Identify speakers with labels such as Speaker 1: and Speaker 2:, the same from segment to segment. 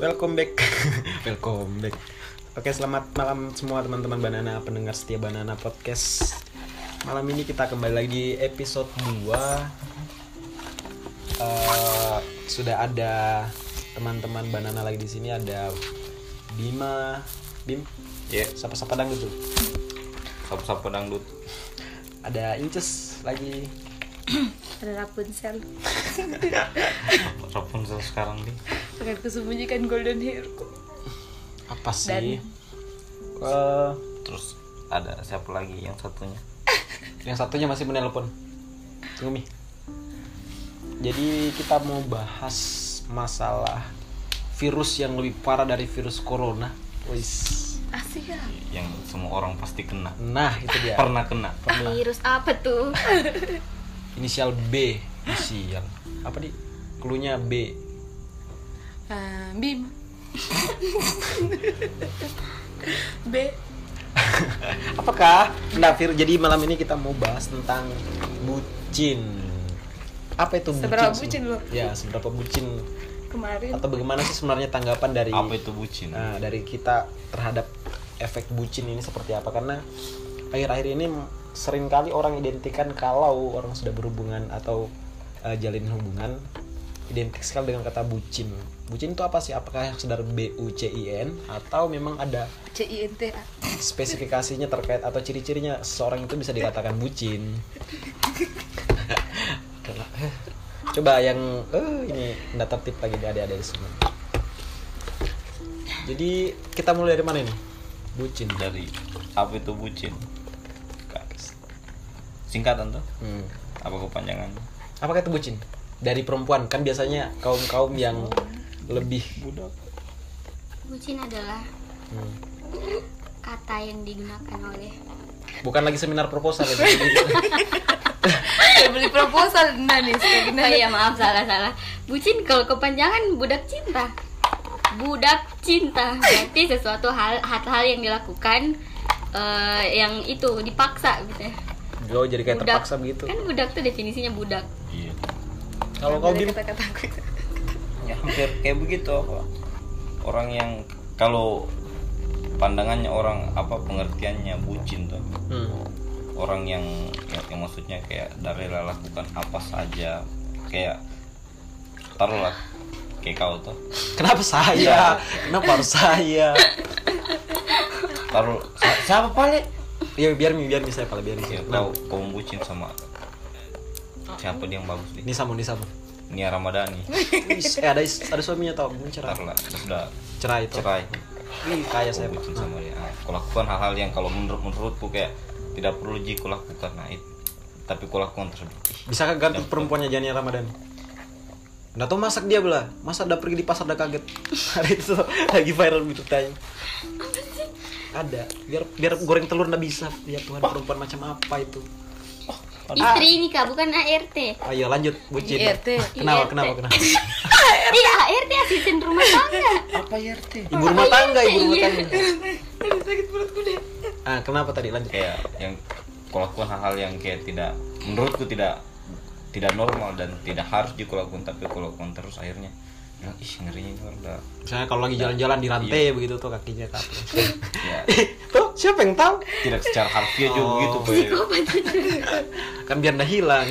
Speaker 1: Welcome back. Welcome back. Oke, selamat malam semua teman-teman Banana, pendengar setia Banana Podcast. Malam ini kita kembali lagi di episode 2. Eh, sudah ada teman-teman Banana lagi di sini ada Bima, Bim,
Speaker 2: Ya,
Speaker 1: siapa-siapa dangdut tuh.
Speaker 2: sapu-sapu dangdut.
Speaker 1: Ada Inces lagi.
Speaker 3: ada Rapunzel
Speaker 2: Rapunzel sekarang nih.
Speaker 3: akan kusembunyikan golden hairku
Speaker 1: Apa
Speaker 3: Dan-
Speaker 1: sih? Eh,
Speaker 2: Terus ada siapa lagi yang satunya?
Speaker 1: Yang satunya masih menelpon. Tunggu Mi. Jadi kita mau bahas masalah virus yang lebih parah dari virus corona. Wis.
Speaker 3: asik ya
Speaker 2: Yang semua orang pasti kena.
Speaker 1: Nah, itu dia.
Speaker 2: Iya. Pernah kena.
Speaker 1: Pernah.
Speaker 3: virus apa tuh
Speaker 1: Inisial B, inisial. Apa di? Klunya B.
Speaker 3: Ah, bim b
Speaker 1: Apakah? Nah, Fir, jadi malam ini kita mau bahas tentang bucin. Apa itu bucin?
Speaker 3: Seberapa
Speaker 1: sih?
Speaker 3: bucin lo?
Speaker 1: Ya, seberapa bucin
Speaker 3: kemarin
Speaker 1: atau bagaimana sih sebenarnya tanggapan dari
Speaker 2: Apa itu bucin?
Speaker 1: Nah, dari kita terhadap efek bucin ini seperti apa? Karena akhir-akhir ini seringkali orang identikan kalau orang sudah berhubungan atau eh, jalin hubungan identik sekali dengan kata bucin. Bucin itu apa sih? Apakah sekedar B U C I N atau memang ada
Speaker 3: c i n t a
Speaker 1: spesifikasinya terkait atau ciri-cirinya seorang itu bisa dikatakan bucin? Udahlah. Coba yang eh, ini nggak tertib lagi di adik-adik di sini. Jadi kita mulai dari mana ini? Bucin.
Speaker 2: Dari apa itu bucin? Ka- Singkatan tuh?
Speaker 1: Hmm.
Speaker 2: Apa kepanjangan?
Speaker 1: Apakah itu bucin? Dari perempuan kan biasanya kaum kaum yang lebih.
Speaker 2: Budak.
Speaker 4: Bucin adalah
Speaker 1: Hmm.
Speaker 4: kata yang digunakan oleh
Speaker 1: Bukan lagi seminar proposal ya. jadi
Speaker 3: Udah beli proposal nah nih kayak gini
Speaker 4: Oh iya maaf salah salah Bucin kalau kepanjangan budak cinta Budak cinta Berarti sesuatu hal hal-hal yang dilakukan eh, Yang itu dipaksa gitu ya
Speaker 1: Gue jadi kayak
Speaker 4: Budak.
Speaker 1: terpaksa begitu.
Speaker 4: Kan budak tuh definisinya budak
Speaker 2: Iya.
Speaker 1: Kalau kau
Speaker 3: Dari
Speaker 1: bim,
Speaker 3: kata-kata aku itu.
Speaker 2: Ya hampir kayak begitu apa? Orang yang kalau pandangannya orang apa pengertiannya bucin tuh
Speaker 1: Hmm.
Speaker 2: orang yang, yang yang maksudnya kayak dari lakukan apa saja kayak taruhlah kayak kau tuh
Speaker 1: kenapa saya? Kenapa harus saya?
Speaker 2: taruh si- siapa paling
Speaker 1: Ya biar mi biar mi saya pala biar mi.
Speaker 2: ya
Speaker 1: saya. Nah,
Speaker 2: kau kau bucin sama siapa dia yang bagus nih ya
Speaker 1: ini sama ini sama.
Speaker 2: Nia Ramadhani
Speaker 1: Is, eh, ada is- ada suaminya tau, mungkin cerai.
Speaker 2: taruhlah sudah
Speaker 1: Cerai itu.
Speaker 2: cerai
Speaker 1: Wih, kaya
Speaker 2: kau
Speaker 1: saya pak.
Speaker 2: bucin sama dia nah, kau lakukan hal-hal yang kalau menurut menurutku kayak tidak perlu ji kau lakukan nah itu tapi kau lakukan tersebut
Speaker 1: Bisakah ganti perempuannya Jania Ramadan? Nggak tahu masak dia belah. Masa udah pergi di pasar udah kaget. Hari itu lagi viral gitu tanya. Ada. Biar biar goreng telur nggak bisa. Ya Tuhan perempuan macam apa itu?
Speaker 4: Istri ini kak bukan ART
Speaker 1: Ayo lanjut bucin.
Speaker 3: IRT.
Speaker 1: Kenapa
Speaker 4: IRT.
Speaker 1: kenapa kenapa?
Speaker 4: Tidak ART asisten rumah tangga
Speaker 1: ya, Ibu rumah tangga ibu rumah
Speaker 4: Iya.
Speaker 1: tangga. Ah kenapa tadi lanjut?
Speaker 2: kayak yang kau lakukan hal-hal yang kayak tidak menurutku tidak tidak normal dan tidak harus dikelakukan tapi kau lakukan terus akhirnya bilang ih ngerinya ini orang udah
Speaker 1: Misalnya kalau lagi jalan-jalan di rantai begitu tuh kakinya ke atas.
Speaker 2: ya
Speaker 1: Eh, tuh siapa yang tahu?
Speaker 2: tidak secara harfiah juga
Speaker 1: Oh.
Speaker 2: begitu Pak.
Speaker 1: Kan biar nggak hilang.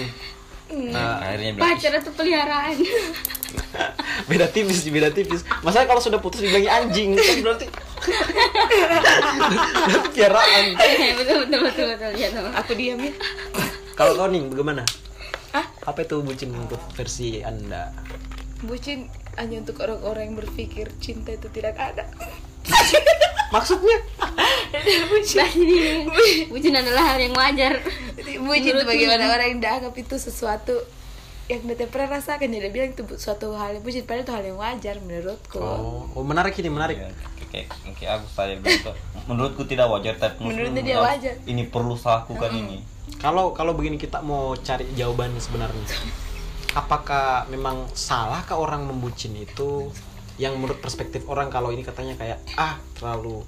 Speaker 2: Nah, akhirnya bilang
Speaker 4: Pacar atau peliharaan
Speaker 1: beda tipis beda tipis masalahnya kalau sudah putus dibilang anjing kan berarti berarti piaraan
Speaker 4: Iya, Betul betul betul betul ya teman
Speaker 3: aku diam ya
Speaker 1: kalau kau nih bagaimana apa itu bucin untuk versi anda
Speaker 3: bucin hanya untuk orang-orang yang berpikir cinta itu tidak ada
Speaker 1: maksudnya
Speaker 4: Bucin Nah, Bucin adalah hal yang wajar
Speaker 3: Bucin itu bagaimana orang yang dianggap itu sesuatu yang udah pernah rasakan jadi dia bilang itu bu- suatu hal yang bucin padahal itu hal yang wajar menurutku
Speaker 1: oh, oh, menarik ini menarik
Speaker 2: ya, kayak kayak aku tadi bilang tuh, menurutku tidak wajar tapi menurutku
Speaker 3: Menurutnya dia
Speaker 2: harus-
Speaker 3: wajar.
Speaker 2: ini perlu saya lakukan ini
Speaker 1: kalau kalau begini kita mau cari jawaban sebenarnya apakah memang salahkah orang membucin itu yang menurut perspektif orang kalau ini katanya kayak ah terlalu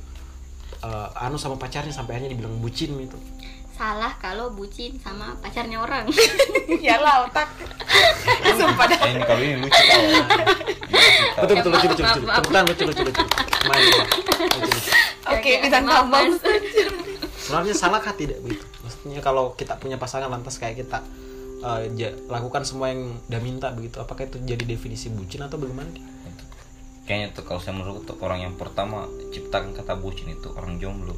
Speaker 1: eh, anu sama pacarnya sampai akhirnya dibilang bucin gitu
Speaker 4: salah kalau bucin sama pacarnya orang
Speaker 3: ya lah otak
Speaker 5: sumpah dah.
Speaker 2: Eh, ini kali ini lucu Gitu, tau. Lucu tau.
Speaker 1: Betul betul lucu lucu
Speaker 4: maaf,
Speaker 1: lucu.
Speaker 4: maaf.
Speaker 1: Tepuk tangan lucu lucu lucu. Main. Lucu, lucu.
Speaker 5: Oke,
Speaker 4: Oke,
Speaker 5: kita
Speaker 4: maaf,
Speaker 5: tambah.
Speaker 4: Mas.
Speaker 1: Sebenarnya salahkah tidak begitu? Maksudnya kalau kita punya pasangan lantas kayak kita eh, ja- lakukan semua yang dia minta begitu, apakah itu jadi definisi bucin atau bagaimana?
Speaker 2: Kayaknya tuh kalau saya menurut tuh orang yang pertama ciptakan kata bucin itu orang jomblo.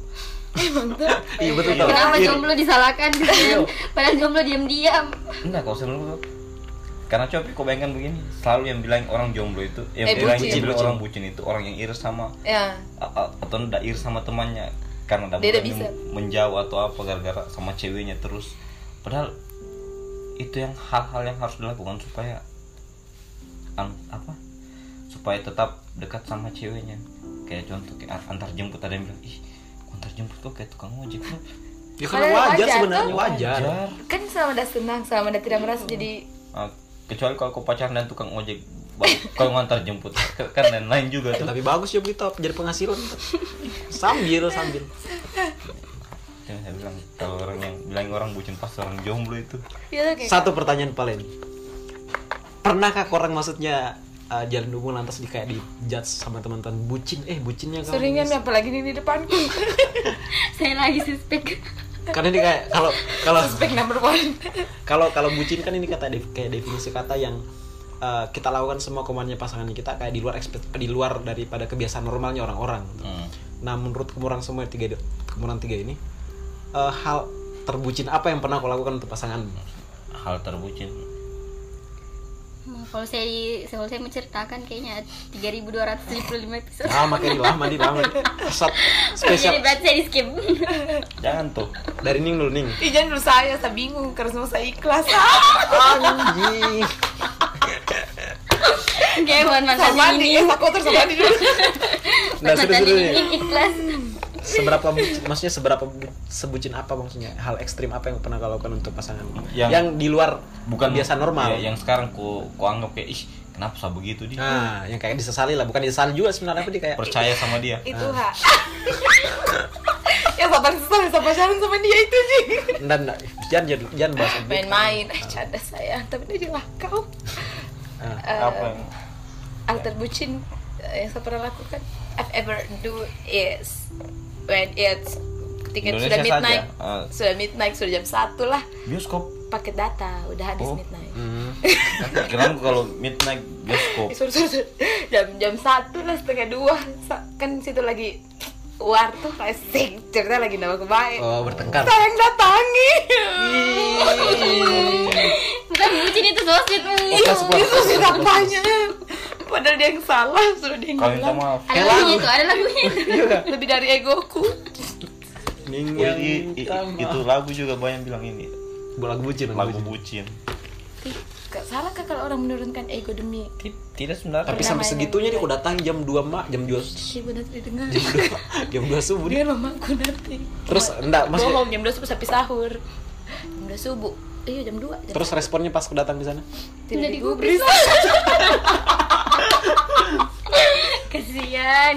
Speaker 1: Iya betul tau.
Speaker 4: Kenapa
Speaker 1: Iya.
Speaker 4: jomblo disalahkan gitu kan? Padahal jomblo diam-diam.
Speaker 2: Enggak kalau saya menurut tuh. karena coba kau bayangkan begini, selalu yang bilang orang jomblo itu, yang
Speaker 5: Eh,
Speaker 2: bilang
Speaker 5: bucin.
Speaker 2: yang bilang
Speaker 1: Bucin.
Speaker 2: orang bucin itu orang yang iris sama
Speaker 5: Ya,
Speaker 2: a- a- atau tidak iris sama temannya karena ada
Speaker 5: Dia tidak
Speaker 2: mungkin menjauh atau apa gara-gara sama ceweknya terus. Padahal itu yang hal-hal yang harus dilakukan supaya an- apa? Supaya tetap dekat sama ceweknya. Kayak contoh kayak an- antar jemput ada yang bilang, "Ih, kok antar jemput kok kayak tukang ojek." lu?"
Speaker 1: Ya karena
Speaker 5: Padahal
Speaker 1: wajar
Speaker 5: wajar,
Speaker 1: sebenarnya
Speaker 5: tuh.
Speaker 1: wajar.
Speaker 2: Jar.
Speaker 5: kan selama dah senang, selama dah tidak merasa jadi
Speaker 2: Ah, kecuali kalau kau pacaran dan tukang ojek baru kau ngantar jemput Ke- kan lain-lain juga tuh
Speaker 1: Tapi bagus ya begitu jadi penghasilan. Sambil sambil.
Speaker 2: Yang saya bilang kalau orang yang bilang orang bucin pas orang jomblo itu
Speaker 5: ya oke.
Speaker 1: Satu pertanyaan paling. Pernahkah orang maksudnya uh, jalan hubungan lantas di kayak di judge sama teman-teman bucin? Eh bucinnya kamu.
Speaker 5: Seringan apalagi ini di depanku.
Speaker 4: Saya lagi suspek.
Speaker 1: Karena ini kayak kalau kalau
Speaker 5: Suspek number one.
Speaker 1: kalau kalau bucin kan ini kata def- kayak definisi kata yang uh, kita lakukan semua kemauannya pasangan kita kayak di luar ekspekt- di luar daripada kebiasaan normalnya orang-orang.
Speaker 2: Hmm.
Speaker 1: Nah menurut kemurang semua tiga kemurang tiga ini uh, hal terbucin apa yang pernah kau lakukan untuk pasangan?
Speaker 2: hal terbucin
Speaker 4: Hmm, Kalau saya kalau saya menceritakan kayaknya 3255 episode.
Speaker 1: Ah makanya lama di lama. Sat,
Speaker 4: Jadi
Speaker 1: spesial
Speaker 4: berarti saya di skip.
Speaker 2: jangan tuh
Speaker 1: dari Ning dulu Ning.
Speaker 5: Ih, jangan Iya, dulu saya, saya bingung karena semua saya ikhlas.
Speaker 1: Anjing.
Speaker 4: Oke, buat mantan
Speaker 5: Sama
Speaker 4: ini.
Speaker 5: nih, eh, saya kotor sama nih dulu.
Speaker 1: Nah,
Speaker 4: Buat mantan
Speaker 1: sudah, sudah,
Speaker 4: ini
Speaker 1: ya.
Speaker 4: ikhlas.
Speaker 1: seberapa bucin- maksudnya seberapa bu- sebucin apa maksudnya hal ekstrim apa yang pernah kau lakukan untuk pasangan yang,
Speaker 2: Yang-
Speaker 1: di luar
Speaker 2: bukan
Speaker 1: biasa normal
Speaker 2: ya, yang sekarang ku ku anggap kayak ih kenapa saya begitu dia
Speaker 1: nah yang kayak disesali lah bukan disesali juga sebenarnya tapi dia kayak
Speaker 2: percaya sama dia
Speaker 5: Itu ha. ya sabar sesal sama pacaran sama dia itu sih.
Speaker 1: dan dan- jangan jangan, jangan bahas objek.
Speaker 5: Main-main, eh canda saya. Tapi dia lah kau.
Speaker 1: Nah,
Speaker 2: apa yang
Speaker 5: Hal terbucin eh, yang saya pernah lakukan I've ever do is when it's ketika
Speaker 2: Indonesia
Speaker 5: sudah midnight
Speaker 2: saja. Ah.
Speaker 5: sudah midnight sudah jam satu lah
Speaker 2: bioskop
Speaker 5: paket data udah habis
Speaker 2: Oh.
Speaker 5: midnight
Speaker 1: hmm.
Speaker 2: pikiranku kalau midnight bioskop
Speaker 5: Eh, suruh, suruh, suruh. jam jam satu lah setengah dua Sa- kan situ lagi war tuh racing cerita lagi nama kebaik
Speaker 1: oh bertengkar
Speaker 5: sayang datangi
Speaker 4: Bukan bucin itu sosit.
Speaker 1: Podcast buat-
Speaker 5: itu sih banyak padahal dia yang salah suruh dia yang
Speaker 2: kau minta
Speaker 5: bilang
Speaker 2: maaf
Speaker 4: Ada lagunya itu, ada lagunya.
Speaker 5: Iya.
Speaker 1: juga
Speaker 5: lebih dari egoku
Speaker 1: Ning
Speaker 2: I-
Speaker 1: yang
Speaker 2: i- i-
Speaker 1: minta maaf.
Speaker 2: Iya, itu lagu juga banyak bilang ini
Speaker 1: Bu- lagu bucin
Speaker 2: lagu bucin
Speaker 5: Gak salah kah kalau orang menurunkan ego demi
Speaker 2: Ti- tidak sebenarnya
Speaker 1: tapi sampai
Speaker 5: Pernah main
Speaker 1: segitunya
Speaker 5: lagu
Speaker 1: dia udah datang jam 2 mak jam 2
Speaker 5: ibu nanti didengar
Speaker 1: jam 2 jam 2 subuh
Speaker 5: dia mamaku nanti
Speaker 1: Terus, enggak, maksudnya-
Speaker 5: bohong jam 2 subuh sampai sahur jam 2 subuh iya jam 2 jam
Speaker 1: terus responnya pas aku datang di sana
Speaker 4: Udah
Speaker 5: tidak digubris
Speaker 4: digubris. Kasihan.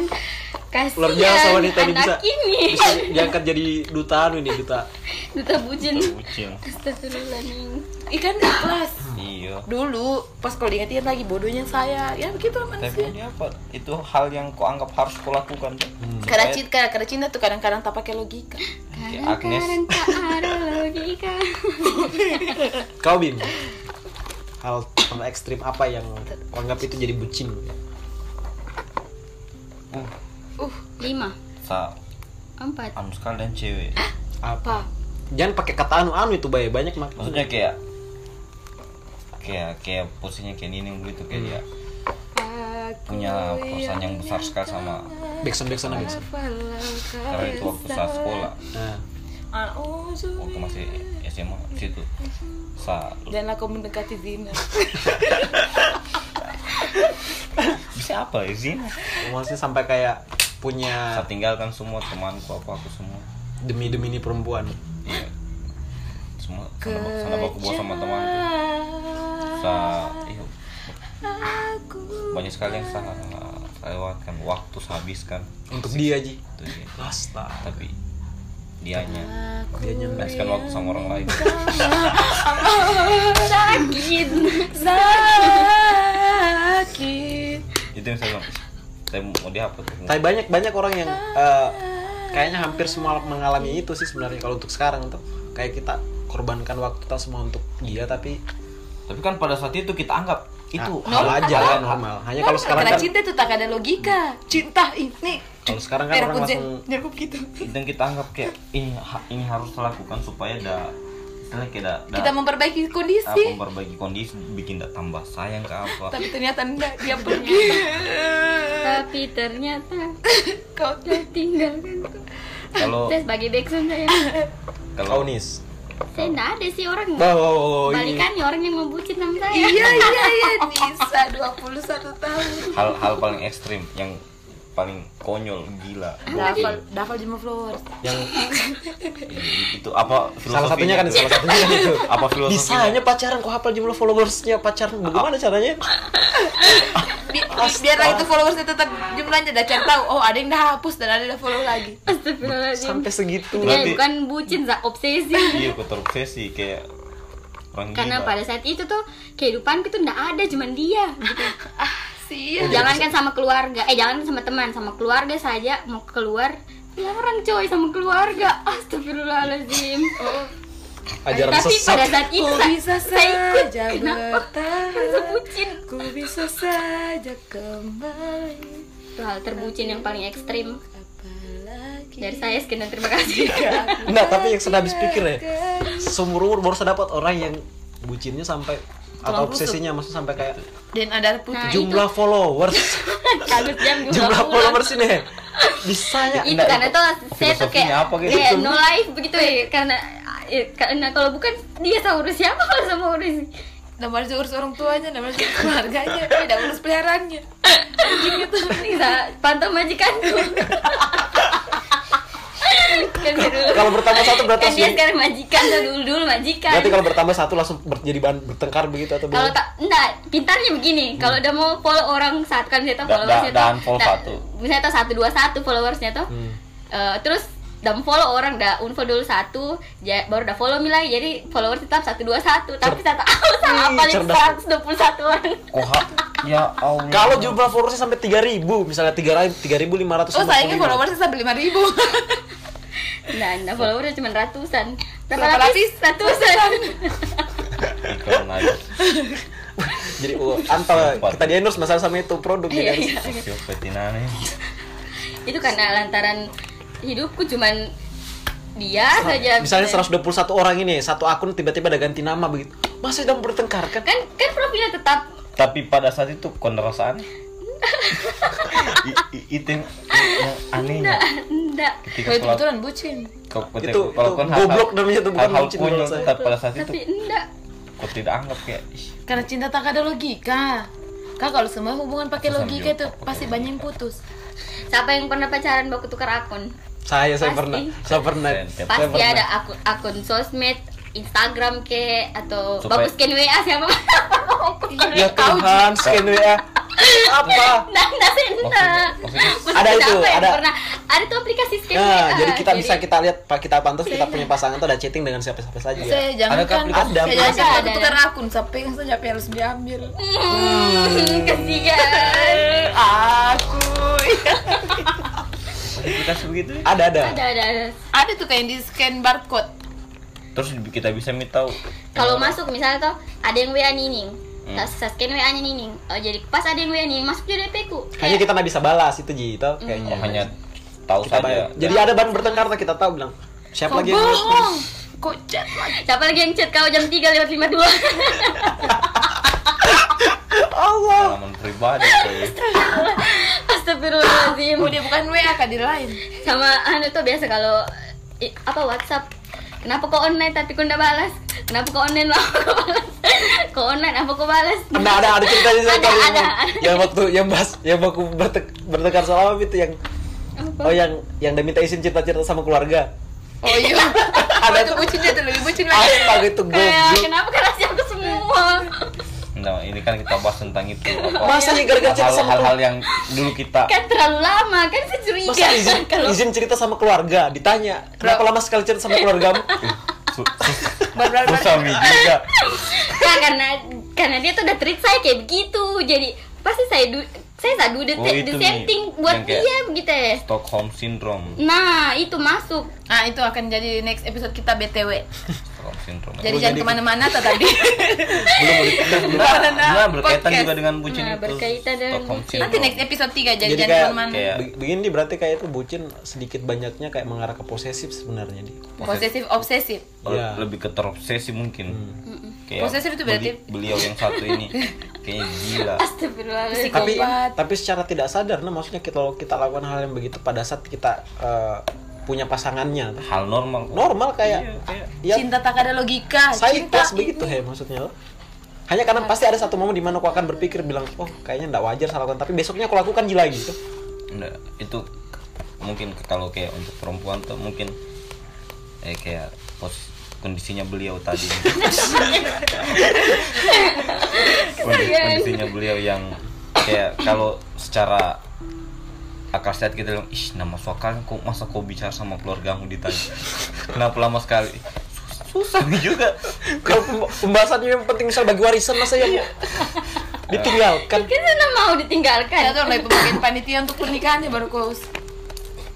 Speaker 4: Kasihan.
Speaker 1: luar biasa wanita ini bisa
Speaker 4: anak ini.
Speaker 1: bisa diangkat jadi dutaan ini duta
Speaker 4: Duta bucin.
Speaker 2: bucin
Speaker 4: Astagfirullah nih.
Speaker 5: ikan ikhlas
Speaker 2: iya
Speaker 5: kan dulu pas kalau diingat-ingat lagi bodohnya saya ya begitu lah
Speaker 2: tapi
Speaker 5: manusia
Speaker 2: ini apa itu hal yang kau anggap harus kau lakukan
Speaker 5: karena
Speaker 2: Supaya-
Speaker 5: cinta karena cinta tuh kadang-kadang tak pakai logika
Speaker 2: Kayak Agnes.
Speaker 4: Kadang-kadang tak ada logika.
Speaker 1: Kau Bim Hal pernah ekstrim apa yang kau anggap itu jadi bucin?
Speaker 2: uh,
Speaker 4: Lima,
Speaker 2: sa
Speaker 4: empat,
Speaker 2: anu sekali dan cewek
Speaker 1: Apa? Jangan pakai kata anu-anu itu bay banyak maksudnya.
Speaker 2: maksudnya kayak kayak kayak posisinya kayak ini begitu kayak dia punya perusahaan yang besar sekali sama
Speaker 1: Backsound backsound aja.
Speaker 2: karena itu waktu saat sekolah
Speaker 1: Nah,
Speaker 2: waktu masih SMA situ sa
Speaker 5: janganlah kau mendekati zina
Speaker 2: bisa apa ya Zina
Speaker 1: maksudnya sampai kayak
Speaker 2: saya
Speaker 1: punya
Speaker 2: tinggalkan semua temanku apa aku semua
Speaker 1: demi demi ini perempuan.
Speaker 2: iya semua sana sana baku bawa sama temanku sa iyo banyak sekali yang saya lewatkan waktu gitu ya. saya habiskan
Speaker 1: Untuk dia Ji.
Speaker 2: itu dia
Speaker 1: Astaga.
Speaker 2: tapi dianya
Speaker 1: Dia nyampe.
Speaker 2: habiskan waktu sama orang lain
Speaker 4: sakit.
Speaker 5: Zah,
Speaker 2: yang saya bilang saya mau dihapus
Speaker 1: Tapi banyak banyak orang yang eh, kayaknya hampir semua mengalami itu sih sebenarnya kalau untuk sekarang tuh kayak kita korbankan waktu kita semua untuk dia tapi
Speaker 2: tapi kan pada saat itu kita anggap itu
Speaker 1: hal aja lah normal. Hanya kalau sekarang
Speaker 3: Karena
Speaker 1: kan
Speaker 3: cinta itu tak ada logika. Cinta ini. Eh,
Speaker 1: kalau sekarang kan orang langsung Nah.
Speaker 3: Nyakup gitu.
Speaker 2: itu yang kita anggap kayak ini ha- ini harus dilakukan supaya ada istilahnya kayak ada, ada
Speaker 3: Kita memperbaiki
Speaker 2: apa,
Speaker 3: kondisi.
Speaker 2: memperbaiki kondisi bikin tidak tambah sayang ke apa
Speaker 3: Tapi ternyata enggak dia pergi.
Speaker 4: Tapi ternyata
Speaker 3: Kau
Speaker 4: udah tinggalkan tuh.
Speaker 2: kalau
Speaker 4: Saya sebagai backsound saya.
Speaker 1: kau
Speaker 2: kalau
Speaker 1: nis.
Speaker 4: Saya enggak ada sih orang.
Speaker 1: Oh, ini.
Speaker 4: Balikannya orang yang mau bucin sama saya.
Speaker 3: Iya iya iya Nisa 21 tahun.
Speaker 2: hal-hal paling ekstrim yang paling konyol gila
Speaker 3: Dafal Dafal Jema Flowers.
Speaker 1: yang
Speaker 2: itu apa
Speaker 1: salah satunya kan
Speaker 2: filosofinya tuh?
Speaker 1: salah satunya kan itu.
Speaker 2: apa gitu. filosofinya
Speaker 1: Bisanya pacaran kok hafal jumlah followersnya pacaran bagaimana caranya?
Speaker 3: Bi biarlah itu followersnya tetap jumlahnya dah cari tahu. Oh ada yang dah hapus dan ada yang dah follow lagi.
Speaker 4: Astagfirullahaladzim.
Speaker 1: Sampai segitu.
Speaker 4: Ya,
Speaker 2: Berarti-
Speaker 4: bukan bucin, Za. obsesi.
Speaker 2: iya aku terobsesi kayak orang
Speaker 4: Karena
Speaker 2: gila.
Speaker 4: pada saat itu tuh kehidupanku tuh enggak ada cuman dia. gitu.
Speaker 1: Oh,
Speaker 3: Sia.
Speaker 1: iya.
Speaker 4: jangankan sama keluarga eh jangan sama teman sama keluarga saja mau keluar dilarang coy sama keluarga astagfirullahaladzim
Speaker 3: Oh.
Speaker 1: Ajaran
Speaker 4: tapi pada
Speaker 1: sesat.
Speaker 4: saat itu
Speaker 3: Ku
Speaker 4: saya-
Speaker 3: bisa
Speaker 4: Iya. saya ikut
Speaker 3: saja
Speaker 4: kenapa
Speaker 3: bertahan.
Speaker 4: bucin
Speaker 3: Ku bisa saja kembali.
Speaker 4: itu hal terbucin yang paling ekstrim
Speaker 3: Apalagi.
Speaker 4: dari saya sekian dan terima kasih
Speaker 1: Enggak, Nah, tapi yang sudah habis pikir ya. Seumur umur baru saya dapat orang yang bucinnya sampai atau
Speaker 3: Tulang rusuk.
Speaker 1: obsesinya maksudnya sampai kayak
Speaker 3: Dan ada putih.
Speaker 4: Nah,
Speaker 1: jumlah followers.
Speaker 4: kaget kan jam
Speaker 1: jumlah
Speaker 4: pulang
Speaker 1: followers ini ya? bisanya
Speaker 4: itu karena tuh saya tuh
Speaker 2: filosofinya
Speaker 4: kayak
Speaker 2: apa gitu?
Speaker 4: kayak no life begitu ya karena eh, karena kalau bukan dia sama urus siapa kalau sama urus
Speaker 3: Nomor urus orang tuanya, nomor urus keluarganya, tidak urus peliharaannya.
Speaker 4: gitu bisa pantau majikanku kan dia dulu
Speaker 1: kalau bertambah satu berarti
Speaker 4: kan dia
Speaker 1: langsung-
Speaker 4: sekarang majikan dulu dulu majikan
Speaker 1: berarti kalau bertambah satu langsung ber- jadi bahan bertengkar begitu atau
Speaker 4: kan. kalau
Speaker 1: bagaimana?
Speaker 4: tak enggak pintarnya begini kalau udah mau follow orang saat kan saya tahu
Speaker 2: Da-
Speaker 4: followersnya
Speaker 2: da-
Speaker 4: tuh
Speaker 2: dan follow
Speaker 4: da-
Speaker 2: satu.
Speaker 4: misalnya tuh satu dua satu followersnya tuh
Speaker 1: Hmm.
Speaker 4: Eh, terus dan follow orang udah unfollow dulu satu ja- baru udah follow me lagi jadi followers tetap satu dua satu tapi saya tahu sama
Speaker 1: Ih,
Speaker 4: paling
Speaker 1: cerdas.
Speaker 4: seratus dua puluh satu orang
Speaker 2: Koha, ya Allah.
Speaker 1: kalau jumlah followersnya sampai 3000 misalnya 3000 3500
Speaker 3: Oh sayangnya followersnya sampai lima ribu.
Speaker 4: nah, nah followersnya cuma ratusan
Speaker 3: Berapa
Speaker 4: berapa lapis ratusan
Speaker 2: iklan aja.
Speaker 1: jadi oh, anta
Speaker 2: Empat.
Speaker 1: kita di endorse masalah sama itu produk ya kan?
Speaker 4: Iya,
Speaker 1: jadi harus-
Speaker 4: iya.
Speaker 2: Sosio Petinane.
Speaker 4: itu karena lantaran hidupku cuman dia saja
Speaker 1: misalnya
Speaker 4: Gitu.
Speaker 1: 121 orang ini satu akun tiba-tiba ada ganti nama begitu masih sedang bertengkar kan
Speaker 4: kan kan profilnya tetap
Speaker 2: Tapi pada saat itu kondrasaan. I- i- itu yang, yang anehnya.
Speaker 4: enggak
Speaker 2: Ketika
Speaker 3: Kalau itu
Speaker 2: kalau
Speaker 3: kebetulan bucin.
Speaker 2: kalau ketika-
Speaker 1: Itu-
Speaker 2: kalau
Speaker 1: itu
Speaker 2: kan hal-hal-
Speaker 1: goblok namanya itu, bukan
Speaker 2: hal-hal
Speaker 1: bucin
Speaker 2: konyol
Speaker 1: menurut saya.
Speaker 2: tetap pada saat itu
Speaker 4: tapi enggak
Speaker 2: kok tidak anggap kayak ih,
Speaker 3: Karena cinta tak ada logika. Kak kalau semua hubungan pakai
Speaker 2: Susah
Speaker 3: logika itu
Speaker 2: dijawab, pakai
Speaker 3: pasti banyak yang putus.
Speaker 4: siapa yang pernah pacaran baku tukar akun
Speaker 1: saya saya
Speaker 4: Pasti.
Speaker 1: pernah saya pernah
Speaker 2: Pasti
Speaker 1: Saya
Speaker 4: pasti
Speaker 1: Ya, pernah.
Speaker 4: ada akun akun sosmed Instagram ke atau
Speaker 2: Supaya-
Speaker 4: bagus scan WA siapa
Speaker 1: ya Tuhan scan WA apa
Speaker 4: Nah, nah, saya enggak.
Speaker 2: Maksudnya-
Speaker 4: Maksudnya
Speaker 1: Ada itu,
Speaker 4: siapa yang
Speaker 1: ada.
Speaker 4: pernah ada tuh aplikasi scan
Speaker 1: Nah,
Speaker 4: WA.
Speaker 1: jadi kita bisa kita lihat Pak, kita pantas kita
Speaker 4: Iya.
Speaker 1: punya pasangan tuh ada chatting dengan siapa-siapa saja.
Speaker 3: Saya jangan
Speaker 2: Adakah
Speaker 3: kan,
Speaker 2: aplikasi?
Speaker 1: Iya. Ada
Speaker 3: saya jangan
Speaker 4: aplikasi.
Speaker 3: kan tukar akun sampai yang saja harus diambil.
Speaker 4: Hmm,
Speaker 1: Ya.
Speaker 4: kasihan.
Speaker 3: Aku.
Speaker 2: maksudnya kita begitu ya?
Speaker 1: Ada ada.
Speaker 4: Ada ada ada.
Speaker 3: ada tuh kayak yang di scan barcode.
Speaker 2: terus kita bisa minta
Speaker 4: kalau
Speaker 1: Nah.
Speaker 4: masuk misalnya tuh ada yang WA Nining
Speaker 1: Hmm.
Speaker 4: saya saya scan WA nya Nining Oh, jadi pas ada yang WA Nining masuk jadi DP ku
Speaker 1: Hanya kita nggak bisa balas itu Ji, itu kayaknya.
Speaker 2: oh, hanya tahu
Speaker 1: Iya, kita bayar.
Speaker 2: saja
Speaker 1: Jadi ada bahan bertengkar tuh kita tahu bilang siapa
Speaker 3: Kok
Speaker 1: lagi yang
Speaker 3: bohong? Kok chat lagi?
Speaker 4: siapa lagi yang chat kau jam 3 lewat 52
Speaker 1: Allah.
Speaker 2: pengalaman pribadi coy.
Speaker 4: Astagfirullahaladzim
Speaker 3: Oh dia bukan WA kan di lain.
Speaker 4: sama anu tuh biasa kalau i- apa WhatsApp kenapa kau online tapi kau nggak balas kenapa kau online lama kau balas kau online apa kau balas
Speaker 1: Nah, ada ada ceritanya saya
Speaker 4: Ada,
Speaker 1: tahu yang,
Speaker 4: ada.
Speaker 1: yang waktu yang bahas yang aku bertek- bertengkar sama apa itu yang
Speaker 4: Apa?
Speaker 1: oh yang yang udah minta izin cerita-cerita sama keluarga.
Speaker 3: Oh iya.
Speaker 1: Ada
Speaker 3: itu
Speaker 1: tuh.
Speaker 3: bucin dia tuh lebih bucin lagi.
Speaker 1: Astaga itu
Speaker 4: kayak
Speaker 1: gitu, goblok.
Speaker 4: kenapa kerasi aku semua
Speaker 2: nah ini kan kita bahas tentang itu apa
Speaker 1: Masa nih gara-gara cerita sama
Speaker 2: hal-hal
Speaker 1: keluarga?
Speaker 2: yang dulu kita
Speaker 4: kan terlalu lama kan saya
Speaker 1: Masa
Speaker 4: curiga
Speaker 1: izin,
Speaker 4: kalau
Speaker 1: izin cerita sama keluarga ditanya, "Kenapa lama sekali cerita sama keluargamu?"
Speaker 2: su- su- susah Mi, juga
Speaker 4: Nah, karena karena dia tuh udah treat saya kayak begitu jadi pasti saya du- saya sadu the,
Speaker 2: Oh,
Speaker 4: the
Speaker 2: itu nih,
Speaker 4: same thing
Speaker 2: yang
Speaker 4: buat
Speaker 2: kayak-
Speaker 4: dia begitu ya
Speaker 2: Stockholm syndrome.
Speaker 4: nah itu masuk
Speaker 5: Nah itu akan jadi next episode kita BTW
Speaker 2: Stockholm syndrome.
Speaker 5: Jadi
Speaker 1: Oh,
Speaker 5: jangan
Speaker 1: jadi-
Speaker 5: kemana-mana tuh tadi
Speaker 2: belum berkaitan
Speaker 5: Beneran, ah,
Speaker 2: Nah, berkaitan
Speaker 5: podcast.
Speaker 2: juga dengan bucin
Speaker 4: Nah,
Speaker 2: itu.
Speaker 4: berkaitan dengan
Speaker 2: Stockholm
Speaker 4: bucin.
Speaker 5: Nanti
Speaker 2: syndrome.
Speaker 5: next episode 3 Jadi,
Speaker 1: Jadi
Speaker 5: jangan
Speaker 1: kayak-
Speaker 5: kemana-mana
Speaker 2: kayak-
Speaker 1: Be- begini berarti kayak itu bucin sedikit banyaknya kayak mengarah ke posesif sebenarnya dia
Speaker 5: Posesif obsesif
Speaker 2: Kalau
Speaker 1: Iya.
Speaker 2: lebih ke terobsesi mungkin. Kayak
Speaker 5: Posesif itu berarti-
Speaker 2: beli- beliau yang satu ini kayaknya gila.
Speaker 4: astagfirullahaladzim
Speaker 1: tapi
Speaker 5: Psikopat.
Speaker 1: tapi secara tidak sadar nah maksudnya kita kalau kita lakukan hal yang begitu pada saat kita eh, punya pasangannya
Speaker 2: Hal normal. kok.
Speaker 1: normal
Speaker 2: Iya,
Speaker 1: kayak
Speaker 2: kayak-
Speaker 1: ya
Speaker 5: Cinta tak ada logika
Speaker 1: saya
Speaker 5: Cinta
Speaker 1: kelas begitu ya maksudnya loh. hanya karena pasti ada satu momen di mana aku akan berpikir bilang oh kayaknya nggak wajar salah lakukan tapi besoknya aku lakukan gila gitu
Speaker 2: Nggak, itu mungkin kalau kayak untuk perempuan tuh mungkin eh kayak pos kondisinya beliau tadi Kondi- kondisinya beliau yang kayak kalau secara akal sehat kita bilang ih nama suakan kok masa kau bicara sama keluargamu ditanya kenapa lama sekali Sus- susah juga
Speaker 1: kalau pemb- pembahasannya yang penting misal bagi warisan masa ya Bu? ditinggalkan
Speaker 4: kan sana mau ditinggalkan
Speaker 5: Saya tuh mulai pembagian panitia untuk pernikahan ya baru kos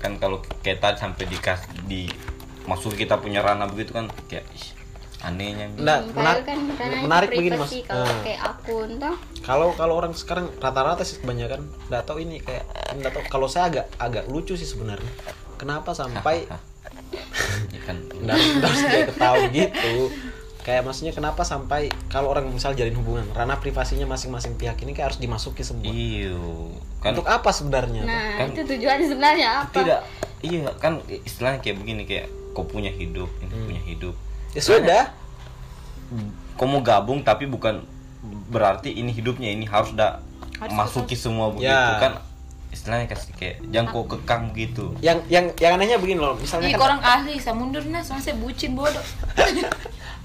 Speaker 2: kan kalau kayak tadi sampai di di masuk kita punya ranah begitu kan kayak ih, anehnya gitu.
Speaker 1: nah
Speaker 4: Padahal
Speaker 1: menar-
Speaker 4: kan karena itu
Speaker 1: menarik begini mas
Speaker 4: privacy kalau
Speaker 1: Eh.
Speaker 4: kayak akun toh
Speaker 1: kalau kalau orang sekarang rata-rata sih kebanyakan nggak tahu ini kayak nggak tahu kalau saya agak agak lucu sih sebenarnya kenapa sampai
Speaker 2: Ya kan
Speaker 1: nggak nggak harus kayak ketawa gitu kayak maksudnya kenapa sampai kalau orang misal jalin hubungan ranah privasinya masing-masing pihak ini kayak harus dimasuki semua
Speaker 2: iyo Iya, kan
Speaker 1: untuk apa sebenarnya
Speaker 4: nah
Speaker 2: Kan-
Speaker 4: itu tujuannya sebenarnya apa
Speaker 2: tidak iya kan istilahnya kayak begini kayak kau punya hidup ini punya hidup
Speaker 1: ya sudah Hmm.
Speaker 2: kau mau gabung tapi bukan berarti ini hidupnya ini harus dah masuki semua begitu
Speaker 1: Ya.
Speaker 2: kan istilahnya kasih kayak jangan kau kekang gitu
Speaker 1: yang yang yang anehnya begini loh misalnya
Speaker 5: Ih
Speaker 1: kan
Speaker 5: korang ahli Saya mundur nah Soalnya saya bucin bodoh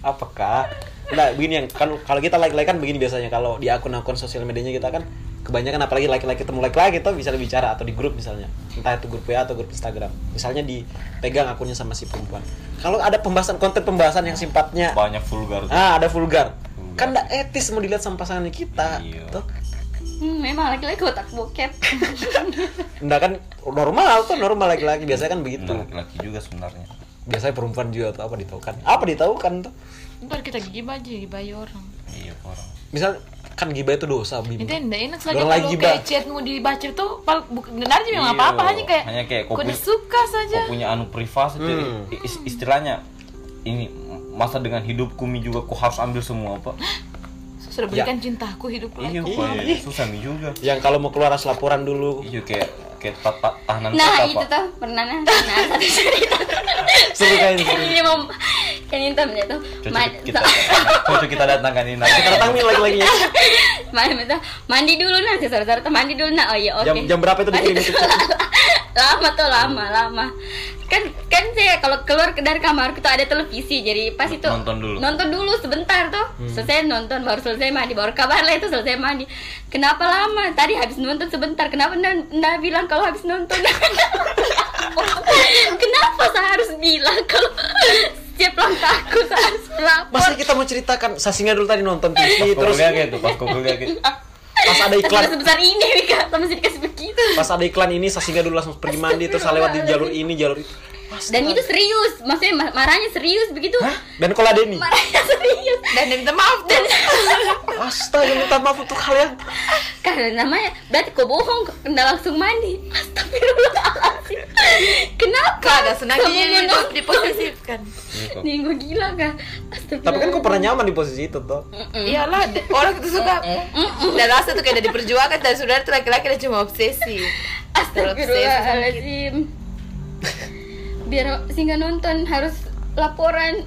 Speaker 1: apakah nah begini yang kan kalau kita like like kan begini biasanya kalau di akun-akun sosial medianya kita kan kebanyakan apalagi like-like ketemu like-like kita bisa bicara atau di grup misalnya entah itu grup WA atau grup Instagram misalnya dipegang akunnya sama si perempuan kalau ada pembahasan konten pembahasan yang sifatnya
Speaker 2: banyak vulgar tuh.
Speaker 1: Ya. ah ada vulgar
Speaker 2: Vulgar.
Speaker 1: kan nggak etis mau dilihat sama pasangan kita
Speaker 2: Iya.
Speaker 1: tuh
Speaker 4: Hmm, memang laki-laki kotak bokep
Speaker 1: nggak kan normal tuh normal laki-laki biasanya kan begitu
Speaker 2: Nah, laki-laki juga sebenarnya
Speaker 1: biasanya perempuan juga tuh apa ditaukan apa ditaukan tuh
Speaker 5: Ntar kita gibah aja Gibah orang
Speaker 2: iya orang
Speaker 1: misal kan gibah itu dosa bim
Speaker 5: Itu yang nggak enak
Speaker 1: Orang
Speaker 5: soalnya
Speaker 1: lagi
Speaker 5: kalau
Speaker 1: gibah.
Speaker 5: kayak chatmu dibaca tuh pal- bukan benar aja memang
Speaker 2: Iya.
Speaker 5: apa-apa hanya kayak
Speaker 2: Hanya kayak kau
Speaker 5: kudu
Speaker 2: punya-
Speaker 5: suka saja.
Speaker 2: kau punya anu privasi tuh,
Speaker 1: Hmm.
Speaker 2: i- is- istilahnya ini masa dengan hidupku mi juga ku harus ambil semua apa
Speaker 5: Sudah berikan cintaku hidup
Speaker 1: Ah,
Speaker 2: iya
Speaker 1: gitu.
Speaker 5: aku.
Speaker 2: kok ya, susah mi juga
Speaker 1: yang kalau mau keluar harus laporan dulu
Speaker 2: iya kayak kayak tata tahanan
Speaker 4: nah
Speaker 2: kota
Speaker 4: itu
Speaker 2: pak
Speaker 4: tuh pernah nah nah, satu cerita
Speaker 1: seru kan
Speaker 4: kan ini mau kan ini temennya tuh
Speaker 2: cocok
Speaker 4: ma-
Speaker 2: kita cocok kita datangkan ini nanti.
Speaker 1: kita datangin lagi-lagi
Speaker 4: malam itu mandi dulu nah sore sore mandi dulu nah oh iya oke
Speaker 1: jam jam berapa itu dikirim itu
Speaker 4: lama tuh lama lama kan kan saya kalau keluar ke- dari kamar kita ada televisi jadi pas itu
Speaker 2: Nonton dulu.
Speaker 4: nonton dulu sebentar tuh selesai nonton baru selesai mandi baru kabar lah itu selesai mandi kenapa lama tadi habis nonton sebentar kenapa nda, nda bilang kalau habis nonton kenapa saya harus bilang kalau setiap langkahku saya harus melapor
Speaker 1: masa kita mau ceritakan sasinga dulu tadi nonton TV
Speaker 2: Kau
Speaker 1: terus
Speaker 2: kuliah kayak itu pas kau kuliah kayak
Speaker 1: pas ada
Speaker 4: Tapi
Speaker 1: iklan
Speaker 4: sebesar ini Wika sama sih dikasih begitu
Speaker 1: pas ada iklan ini sasinga dulu langsung pergi mandi terus saya lewat di jalur ini jalur itu
Speaker 4: dan itu serius maksudnya ma- marahnya serius begitu
Speaker 1: dan kalau ada ini
Speaker 4: marahnya serius
Speaker 5: Dan dan minta maaf dan
Speaker 1: astaga minta maaf untuk hal yang
Speaker 4: Karena namanya berarti kau bohong kau kena langsung mandi. Astagfirullahaladzim. Kenapa?
Speaker 5: ada senangnya
Speaker 4: Kamu
Speaker 5: jadi
Speaker 4: nonton.
Speaker 5: diposesifkan.
Speaker 4: Nih gue gila kah? Astagfirullah.
Speaker 1: tapi kan kau pernah nyaman di posisi itu toh
Speaker 5: Iyalah d- orang itu suka. Dan rasa tuh kayak udah diperjuangkan dan saudara tuh laki-laki dia cuma obsesi.
Speaker 4: Astagfirullahaladzim. Biar sehingga nonton harus laporan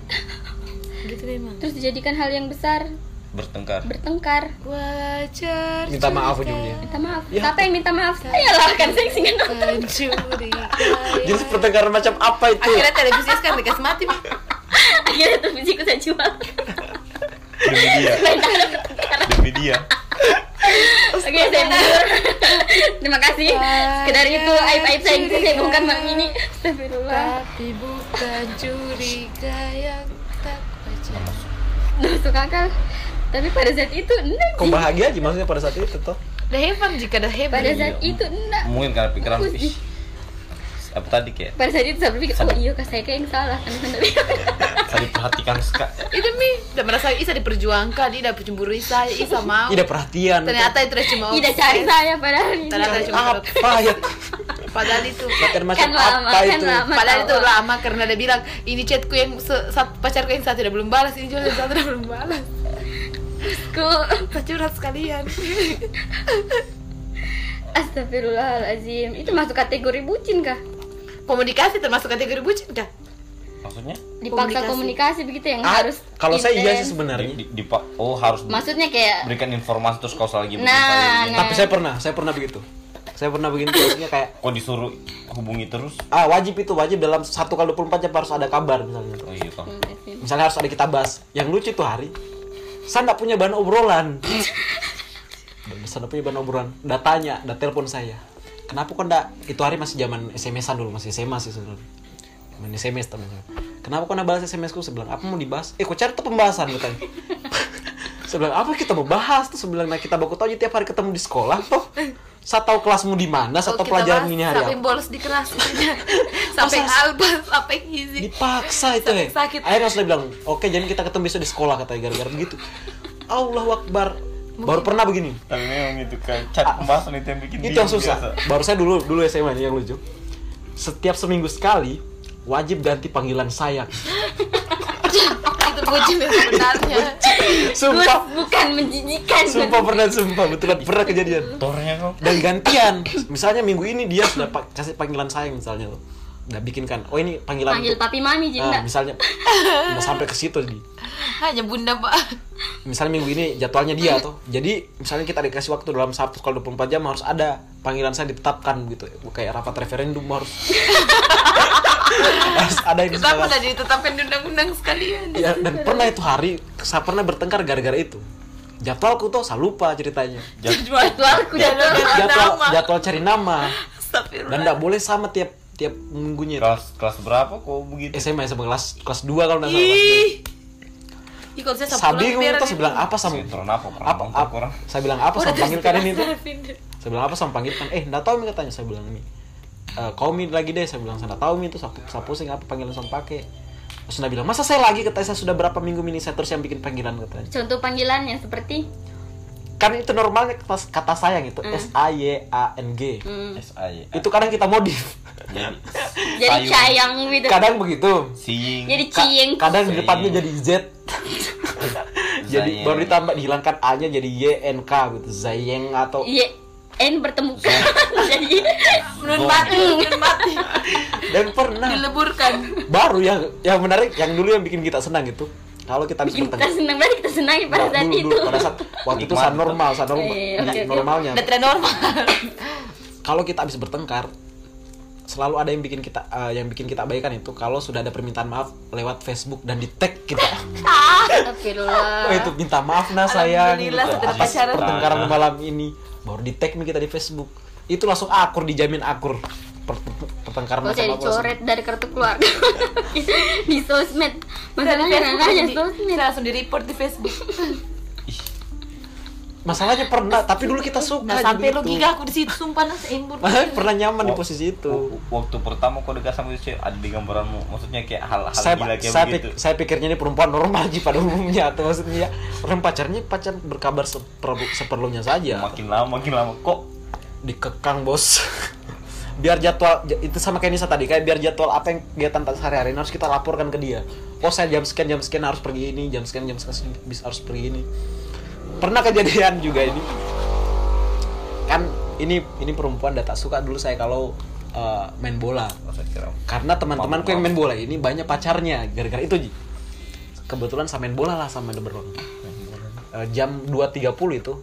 Speaker 5: Gitu memang.
Speaker 4: terus dijadikan hal yang besar
Speaker 2: bertengkar
Speaker 4: bertengkar
Speaker 5: Wajar.
Speaker 1: minta maaf ujungnya
Speaker 4: minta maaf
Speaker 1: Ya.
Speaker 4: siapa yang minta maaf saya lah kan saya sehingga nonton
Speaker 5: Mencuri.
Speaker 1: jadi pertengkaran macam apa itu
Speaker 5: Akhirnya televisi sekarang dikasih mati. Mi.
Speaker 4: akhirnya televisiku saya jual
Speaker 2: demi dia demi
Speaker 4: Ah,
Speaker 2: dia
Speaker 4: Oke, saya mundur. Terima kasih. Sekedar itu
Speaker 1: ya,
Speaker 4: aib-aib saya yang saya bongkar malam ini. Astagfirullah.
Speaker 5: Tapi bukan curiga yang tak wajar.
Speaker 4: Duh, suka kan? tapi pada saat itu enggak
Speaker 1: Kok bahagia aja maksudnya pada saat itu toh?
Speaker 4: Oh.
Speaker 5: Dah hebat jika dah hebat.
Speaker 4: pada saat itu enggak
Speaker 2: Ya mungkin karena pikiran
Speaker 4: Aku sih.
Speaker 2: ih apa tadi kayak
Speaker 4: pada saat itu saya berpikir oh iya kak saya kayak yang salah kan
Speaker 2: saya diperhatikan sekali
Speaker 5: itu mi udah merasa Isa diperjuangkan, Ida cemburu Isa, Isa mau.
Speaker 1: Ida perhatian.
Speaker 5: Ternyata itu cuma
Speaker 4: tidak cari saya padahal ini
Speaker 5: Ternyata cuma obses.
Speaker 1: apa ya?
Speaker 5: Padahal itu
Speaker 1: Latihan macam
Speaker 4: Kan lama,
Speaker 1: apa
Speaker 4: kan
Speaker 1: itu?
Speaker 4: lama.
Speaker 5: Padahal
Speaker 4: Tahu.
Speaker 5: itu lama karena dia bilang ini chatku yang se- sat- pacarku yang satu udah belum balas, ini juga yang satu udah belum balas.
Speaker 4: Ku-
Speaker 5: Saya curhat sekalian.
Speaker 4: Astagfirullahalazim itu masuk kategori bucin kah
Speaker 5: Komunikasi termasuk kategori bucin kah?
Speaker 2: maksudnya
Speaker 4: dipaksa komunikasi, begitu yang
Speaker 1: Ah,
Speaker 4: harus
Speaker 1: kalau saya iya
Speaker 4: intens.
Speaker 1: sih
Speaker 2: di,
Speaker 1: sebenarnya.
Speaker 2: di, di- oh harus
Speaker 4: maksudnya kayak
Speaker 2: berikan informasi terus kau salah gitu
Speaker 4: nah nah
Speaker 1: Tapi saya pernah, saya pernah begitu. Saya pernah begitu maksudnya kayak
Speaker 2: kok disuruh hubungi terus
Speaker 1: ah wajib itu wajib dalam satu kali 24 jam harus ada kabar misalnya.
Speaker 2: oh iya toh
Speaker 1: Misalnya harus ada kita bahas. Yang lucu tuh hari saya nggak punya bahan obrolan. Dan saya nggak punya bahan obrolan. Udah tanya, udah telepon saya. Kenapa kok ndak itu hari masih zaman SMS-an dulu, masih SMA sih sebenarnya. Main SMS temennya. Kenapa kok ndak balas SMS ku? Saya bilang, apa mau dibahas? Eh, kok cari tuh pembahasan katanya. saya bilang, apa kita mau bahas? Terus saya bilang, nah kita baku aja tiap hari ketemu di sekolah tuh. Saya tahu kelasmu di mana, saya
Speaker 5: Kalau
Speaker 1: tahu
Speaker 5: kita bahas
Speaker 1: pelajaranmu ini hari
Speaker 5: sampai
Speaker 1: apa.
Speaker 5: bolos di kelas gitu. sampai
Speaker 1: Masa-
Speaker 5: alba sampai gizi
Speaker 1: dipaksa itu ya
Speaker 5: Sakit.
Speaker 1: akhirnya sudah bilang oke jadi kita ketemu besok di sekolah katanya gara-gara begitu Allah Akbar baru pernah begini
Speaker 2: tapi memang itu kan chat pembahasan itu yang bikin
Speaker 1: itu
Speaker 2: bingung
Speaker 1: yang susah baru saya dulu dulu SMA ini yang lucu setiap seminggu sekali wajib ganti panggilan sayang
Speaker 5: itu bucin yang sebenarnya
Speaker 1: sumpah
Speaker 4: bukan menjijikan
Speaker 1: sumpah pernah sumpah betulan pernah kejadian
Speaker 2: biasa. tornya kau
Speaker 1: dan gantian misalnya minggu ini dia sudah pa- kasih panggilan sayang misalnya tuh udah bikinkan oh ini panggilan
Speaker 4: panggil
Speaker 1: untuk-
Speaker 4: papi mami jadi
Speaker 1: Ah,
Speaker 4: enggak
Speaker 1: misalnya udah sampai ke situ di
Speaker 5: hanya bunda pak
Speaker 1: misalnya minggu ini jadwalnya dia tuh jadi misalnya kita dikasih waktu dalam Sabtu kalau 24 jam harus ada panggilan saya ditetapkan gitu kayak rapat referendum harus harus ada yang
Speaker 5: kenapa
Speaker 1: diselenggarakan.
Speaker 5: udah ditetapkan di undang-undang sekalian
Speaker 1: Ya, dan pernah itu hari saya pernah bertengkar gara-gara itu jadwalku tuh saya lupa ceritanya
Speaker 4: jadwalku jadwal
Speaker 1: jadwal jadwal cari nama dan
Speaker 5: Astagfirullah
Speaker 1: nggak boleh sama tiap tiap minggunya itu.
Speaker 2: kelas kelas berapa kok begitu
Speaker 1: SMA sama kelas kelas 2 kalau nggak salah kelas dua.
Speaker 5: ih ih kalau saya sabtu
Speaker 1: Sabi
Speaker 5: lalu
Speaker 1: ngomong
Speaker 5: biar
Speaker 1: tuh saya bilang apa sama
Speaker 2: sinetron apa kurang
Speaker 1: apa,
Speaker 2: bang
Speaker 1: apa-
Speaker 2: kurang
Speaker 1: saya bilang apa sama panggilkan ini tuh
Speaker 5: pindah.
Speaker 1: saya bilang apa sama panggilkan eh nggak tahu mi katanya saya bilang mi Eh kau mi lagi deh saya bilang saya nggak tahu mi itu saya, pu- saya pusing apa panggilan sama pakai terus dia bilang masa saya lagi katanya saya sudah berapa minggu mini saya terus yang bikin panggilan katanya
Speaker 4: contoh panggilannya seperti
Speaker 1: kan itu normalnya kata, kata sayang itu S A Y A N G
Speaker 4: hmm,
Speaker 2: SI
Speaker 1: itu kadang kita modif
Speaker 2: ya. jadi
Speaker 4: jadi
Speaker 2: sayur.
Speaker 4: sayang gitu
Speaker 1: kadang begitu
Speaker 2: siing
Speaker 4: jadi
Speaker 1: Ka-
Speaker 4: cieng
Speaker 1: kadang di
Speaker 2: Sayang.
Speaker 1: depannya jadi Z jadi
Speaker 2: Zayeng.
Speaker 1: baru ditambah dihilangkan A nya jadi Y N K gitu Zayeng atau
Speaker 4: iya n bertemukan
Speaker 1: Iya.
Speaker 4: jadi
Speaker 5: menurut mati menurut mati
Speaker 1: dan pernah
Speaker 5: dileburkan
Speaker 1: baru yang yang menarik yang dulu yang bikin kita senang itu kalau kita habis
Speaker 4: bikin kita
Speaker 1: bertengkar
Speaker 4: senang berarti kita senangi
Speaker 1: Nah,
Speaker 4: pada saat
Speaker 1: dulu,
Speaker 4: itu
Speaker 1: dulu, pada saat waktu itu saat normal saat normal
Speaker 4: Iya, oke, oke.
Speaker 1: normalnya
Speaker 5: udah tidak normal
Speaker 1: kalau kita habis bertengkar selalu ada yang bikin kita eh, yang bikin kita abaikan itu kalau sudah ada permintaan maaf lewat Facebook dan di tag kita
Speaker 4: Ah. Astagfirullah
Speaker 1: oh, itu minta maaf nah sayang gitu.
Speaker 5: Alhamdulillah, sudah
Speaker 1: atas
Speaker 5: pacaran.
Speaker 1: pertengkaran malam ini baru di tag nih kita di Facebook itu langsung akur dijamin akur Per- per- pertengkaran
Speaker 4: Kalau
Speaker 1: macam
Speaker 4: saya
Speaker 1: apa langsung.
Speaker 4: dicoret dari kartu keluarga di sosmed, masalahnya nanya
Speaker 5: Di-
Speaker 4: sosmed.
Speaker 5: saya langsung di report di Facebook
Speaker 1: masalahnya pernah tapi dulu kita suka gitu.
Speaker 5: nah sampai lu
Speaker 1: begitu.
Speaker 5: giga aku di situ sumpah Eh, nasi embur
Speaker 1: Makanya pernah nyaman di
Speaker 2: Wak-
Speaker 1: posisi itu
Speaker 2: w- waktu pertama kau dekat sama itu ada di gambaranmu maksudnya kayak hal-hal
Speaker 1: saya,
Speaker 2: gila kayak
Speaker 1: saya,
Speaker 2: begitu
Speaker 1: pik- saya pikirnya ini perempuan normal sih pada umumnya atau maksudnya ya, orang pacarnya pacar berkabar seperlu- seperlunya saja
Speaker 2: makin lama makin lama kok
Speaker 1: dikekang bos biar jadwal ja- itu sama kayak Nisa tadi kayak biar jadwal apa yang kegiatan tak sehari-hari ini harus kita laporkan ke dia oh saya jam sekian jam sekian harus pergi ini jam sekian jam sekian bis- harus pergi ini pernah kejadian juga ini kan ini ini perempuan udah tak suka dulu saya kalau eh, main bola
Speaker 2: Oh, saya kira
Speaker 1: karena teman-temanku yang main bola ini banyak pacarnya gara-gara itu Ji. kebetulan saya main bola lah sama dia berdua Eh, jam 2.30 itu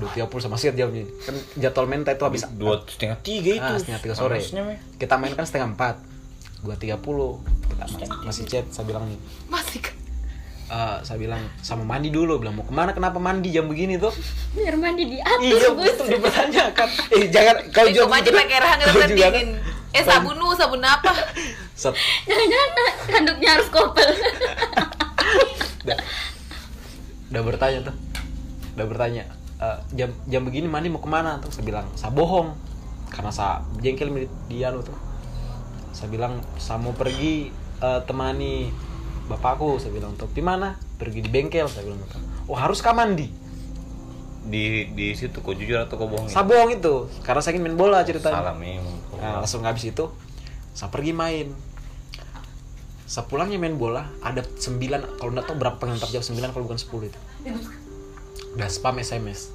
Speaker 1: 2.30 sama siat jamnya kan jadwal main itu habis
Speaker 2: dua setengah tiga itu
Speaker 1: Ah, setengah tiga sore
Speaker 2: Harusnya, Meh.
Speaker 1: kita main kan setengah empat 2.30 kita main. masih chat saya bilang nih
Speaker 5: masih kan
Speaker 1: eh, saya bilang sama mandi dulu bilang mau kemana kenapa mandi jam begini tuh
Speaker 4: Biar mandi diatur,
Speaker 1: iya
Speaker 4: Bos.
Speaker 1: betul dipertanyakan eh jangan kau
Speaker 5: Kau
Speaker 1: juga
Speaker 5: aja pakai rahang
Speaker 1: kau
Speaker 5: kita
Speaker 1: juga kan.
Speaker 5: dingin. Eh sabun nu, sabun apa?
Speaker 1: Set.
Speaker 4: Jangan-jangan handuknya harus kopel.
Speaker 1: udah, udah bertanya tuh udah bertanya "Eh, jam jam begini mandi mau kemana terus saya bilang saya bohong karena saya jengkel sama dia lu tuh saya bilang saya mau pergi eh, temani bapakku saya bilang tuh di mana pergi di bengkel saya bilang gitu. oh harus kah mandi
Speaker 2: di di situ kok jujur atau kok bohong ya?
Speaker 1: saya bohong itu karena saya ingin main bola ceritanya
Speaker 2: salah memang kok.
Speaker 1: Nah, langsung habis itu saya pergi main. Sepulangnya main bola ada 9 kalau nggak tahu berapa pengantar jam 9 kalau bukan 10 itu. Udah spam SMS.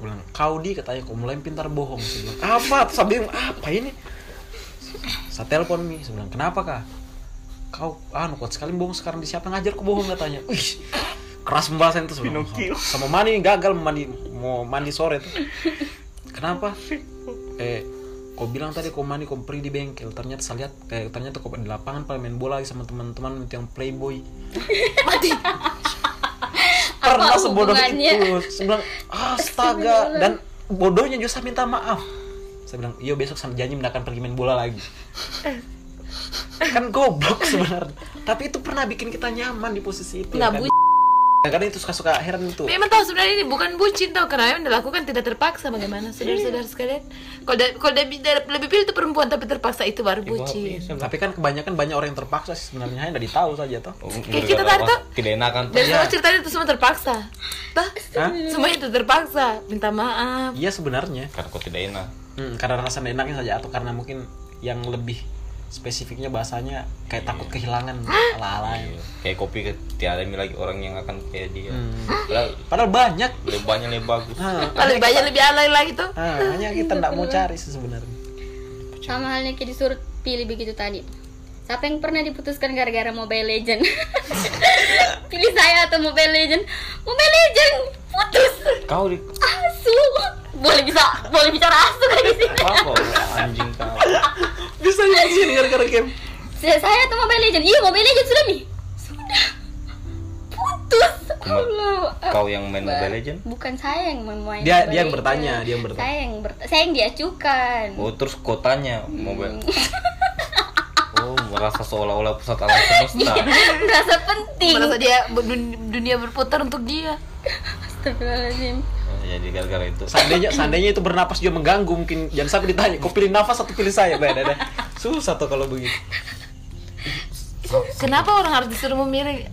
Speaker 1: Bilang, "Kau di katanya kau mulai pintar bohong." Saya bilang, "Apa?" Terus saya bingung, "Apa ini?" Saya telepon Mi, saya bilang, "Kenapa, Kak?" Kau anu kuat sekali bohong sekarang di siapa ngajar kau bohong katanya. Wih. Keras pembahasan itu sebelum sama mandi gagal mandi mau mandi sore tuh. Kenapa? Eh, kau bilang tadi kau mandi kau pergi di bengkel. Ternyata saya lihat eh, ternyata kau di lapangan pada main bola lagi sama teman-teman itu yang playboy. Mati. Pernah
Speaker 4: Apa
Speaker 1: sebodoh
Speaker 4: hubungannya?
Speaker 1: itu. Saya bilang, astaga dan bodohnya juga saya minta maaf. Saya bilang, iya besok saya janji tidak akan pergi main bola lagi. kan goblok sebenarnya. Tapi itu pernah bikin kita nyaman di posisi itu.
Speaker 5: Nah,
Speaker 1: ya kan?
Speaker 5: bu Iya.
Speaker 1: Kadang-kadang itu suka-suka heran itu.
Speaker 5: Memang tahu sebenarnya ini bukan bucin tau karena yang dilakukan tidak terpaksa bagaimana saudara-saudara sekalian. Kalau da- kalau da- da- lebih pilih itu perempuan tapi terpaksa itu baru bucin.
Speaker 1: Tapi kan kebanyakan banyak orang yang terpaksa sih sebenarnya hanya dari tahu saja toh.
Speaker 2: Oh,
Speaker 5: Kayak
Speaker 2: gara-gara
Speaker 5: kita tadi
Speaker 2: apa?
Speaker 5: tuh-
Speaker 2: tidak enakan tuh
Speaker 5: Dan semua ceritanya itu semua terpaksa. Tah,
Speaker 1: Iya. Hah?
Speaker 5: semuanya itu terpaksa. Minta maaf.
Speaker 1: Iya sebenarnya.
Speaker 2: karena Kan kok tidak enak
Speaker 1: Hmm, karena rasa nggak enaknya saja atau karena mungkin yang lebih spesifiknya bahasanya kayak takut kehilangan ala-ala. gitu.
Speaker 2: Iya. kayak kopi ke- tiada ada lagi orang yang akan kayak dia padahal
Speaker 1: Padahal banyak.
Speaker 2: lebarnya lebih bagus
Speaker 1: Hah,
Speaker 5: Lebih banyak lebih alay lagi tuh.
Speaker 1: hah, hanya kita nggak mau cari sih sebenarnya.
Speaker 4: Sama halnya kayak disuruh pilih begitu tadi. Siapa yang pernah diputuskan gara-gara Mobile Legend? pilih saya atau Mobile Legend? Mobile Legend putus.
Speaker 2: kau di
Speaker 4: Asu. Boleh bisa boleh bicara asu kan di sini.
Speaker 2: apa anjing kau
Speaker 1: Bisa nyanyiin gara-gara game.
Speaker 4: Saya, saya atau Mobile Legend? Iya, Mobile Legend sudah nih. Sudah. Putus.
Speaker 2: Cuma
Speaker 4: Allah.
Speaker 2: kau yang main Mobile Legend
Speaker 4: Bukan saya yang main
Speaker 1: Dia-
Speaker 4: Mobile
Speaker 1: dia yang
Speaker 4: Legend.
Speaker 1: bertanya, dia yang bertanya.
Speaker 4: Saya yang bertanya. Saya yang diacukan.
Speaker 2: oh terus kotanya Mobile oh merasa seolah-olah pusat alam semesta
Speaker 4: Iya. Merasa penting.
Speaker 5: Merasa dia ber- dun- dunia berputar untuk dia.
Speaker 4: Astagfirullahaladzim.
Speaker 2: Oh, jadi gara-gara itu
Speaker 1: Seandainya, seandainya itu bernapas juga mengganggu mungkin jangan sampai ditanya kau pilih nafas atau pilih saya Bay, dadah. Susah tuh kalau begitu. Oh.
Speaker 5: Kenapa orang harus disuruh memilih?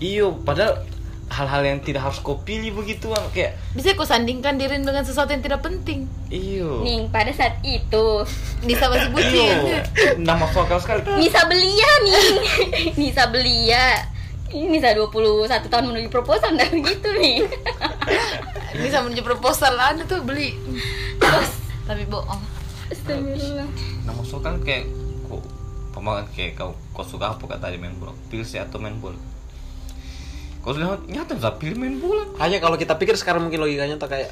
Speaker 2: iyo padahal hal-hal yang tidak harus kau pilih begituan kayak
Speaker 5: Bisa kau sandingkan diri dengan sesuatu yang tidak penting.
Speaker 2: iyo
Speaker 4: Ning, pada saat itu
Speaker 5: Bisa masih
Speaker 1: Iya.
Speaker 5: bucin.
Speaker 2: iyo nama sokal sekali
Speaker 4: Nisa belia nih Nisa belia Ini Nisa 21 tahun menuju proposal dan gitu nih
Speaker 5: Bisa menuju proposal anda tuh beli. Terus tapi bohong.
Speaker 4: Astagfirullah
Speaker 2: nama sokal Nah, kan kayak kok pemakan kayak kau kau suka apa kata tadi main bola pilih sih atau main bola kau sudah nyata bisa pilih main bola
Speaker 1: Hanya kalau kita pikir sekarang mungkin logikanya tuh kayak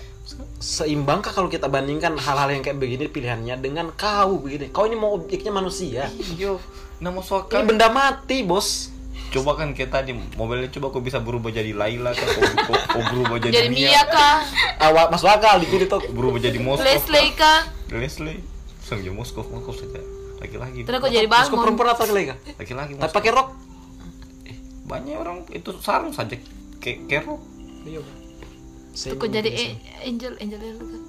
Speaker 1: seimbangkah kalau kita bandingkan hal-hal yang kayak begini pilihannya dengan kau begini. Kau ini mau objeknya manusia.
Speaker 2: iyo nama
Speaker 1: Ini
Speaker 2: sokal
Speaker 1: benda mati, Bos.
Speaker 2: Nah, kan, coba kan kayak tadi mobilnya coba kok bisa berubah jadi Laila kan kok, kok- kok berubah jadi,
Speaker 5: Jadi Mia kah?
Speaker 1: Awak masuk akal di kulit tuh.
Speaker 2: berubah jadi Moskov
Speaker 5: Leslie kah?
Speaker 2: Leslie sang jadi Moskov Moskov saja laki-laki
Speaker 5: Terus kau jadi
Speaker 1: Terus kau
Speaker 5: bangun.
Speaker 1: perempuan apa lagi kah?
Speaker 2: laki-laki
Speaker 1: Tapi
Speaker 2: Moskov
Speaker 1: pakai rok.
Speaker 2: banyak orang itu sarung saja kayak kerok
Speaker 1: Iya.
Speaker 5: Terus kau jadi e- angel angel angel kah?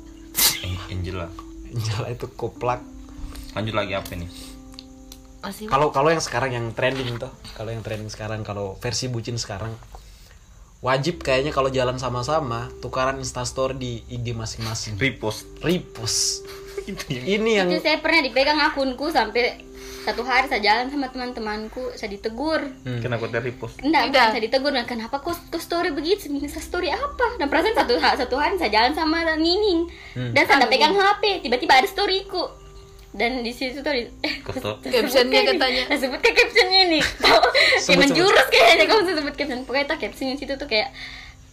Speaker 2: Angela
Speaker 1: Jala itu koplak.
Speaker 5: Iya.
Speaker 2: lanjut lagi apa nih
Speaker 5: Masih
Speaker 1: Kalau kalau yang sekarang yang trending tuh, kalau yang trending sekarang kalau versi bucin sekarang wajib kayaknya kalau jalan sama-sama tukaran instastory di IG masing-masing.
Speaker 2: repost
Speaker 1: Repost. Ini yang
Speaker 4: Itu saya pernah dipegang akunku sampai satu hari saya jalan sama teman-temanku saya ditegur
Speaker 5: Hmm.
Speaker 2: kenapa dia repost
Speaker 4: Enggak,
Speaker 5: Udah.
Speaker 4: saya ditegur nah, kenapa kok, kok story begitu? Saya story apa? Dan perasaan satu, ha- satu hari saya jalan sama Nining Dan saya nggak pegang HP, tiba-tiba ada storyku Dan di situ tuh di- eh,
Speaker 2: Ketok.
Speaker 5: Captionnya katanya.
Speaker 4: Nah, sebut ke captionnya nih Tahu,
Speaker 1: Sebut,
Speaker 4: kayak
Speaker 1: sebut.
Speaker 4: menjurus kayaknya kamu bisa sebut caption pokoknya tuh captionnya situ tuh kayak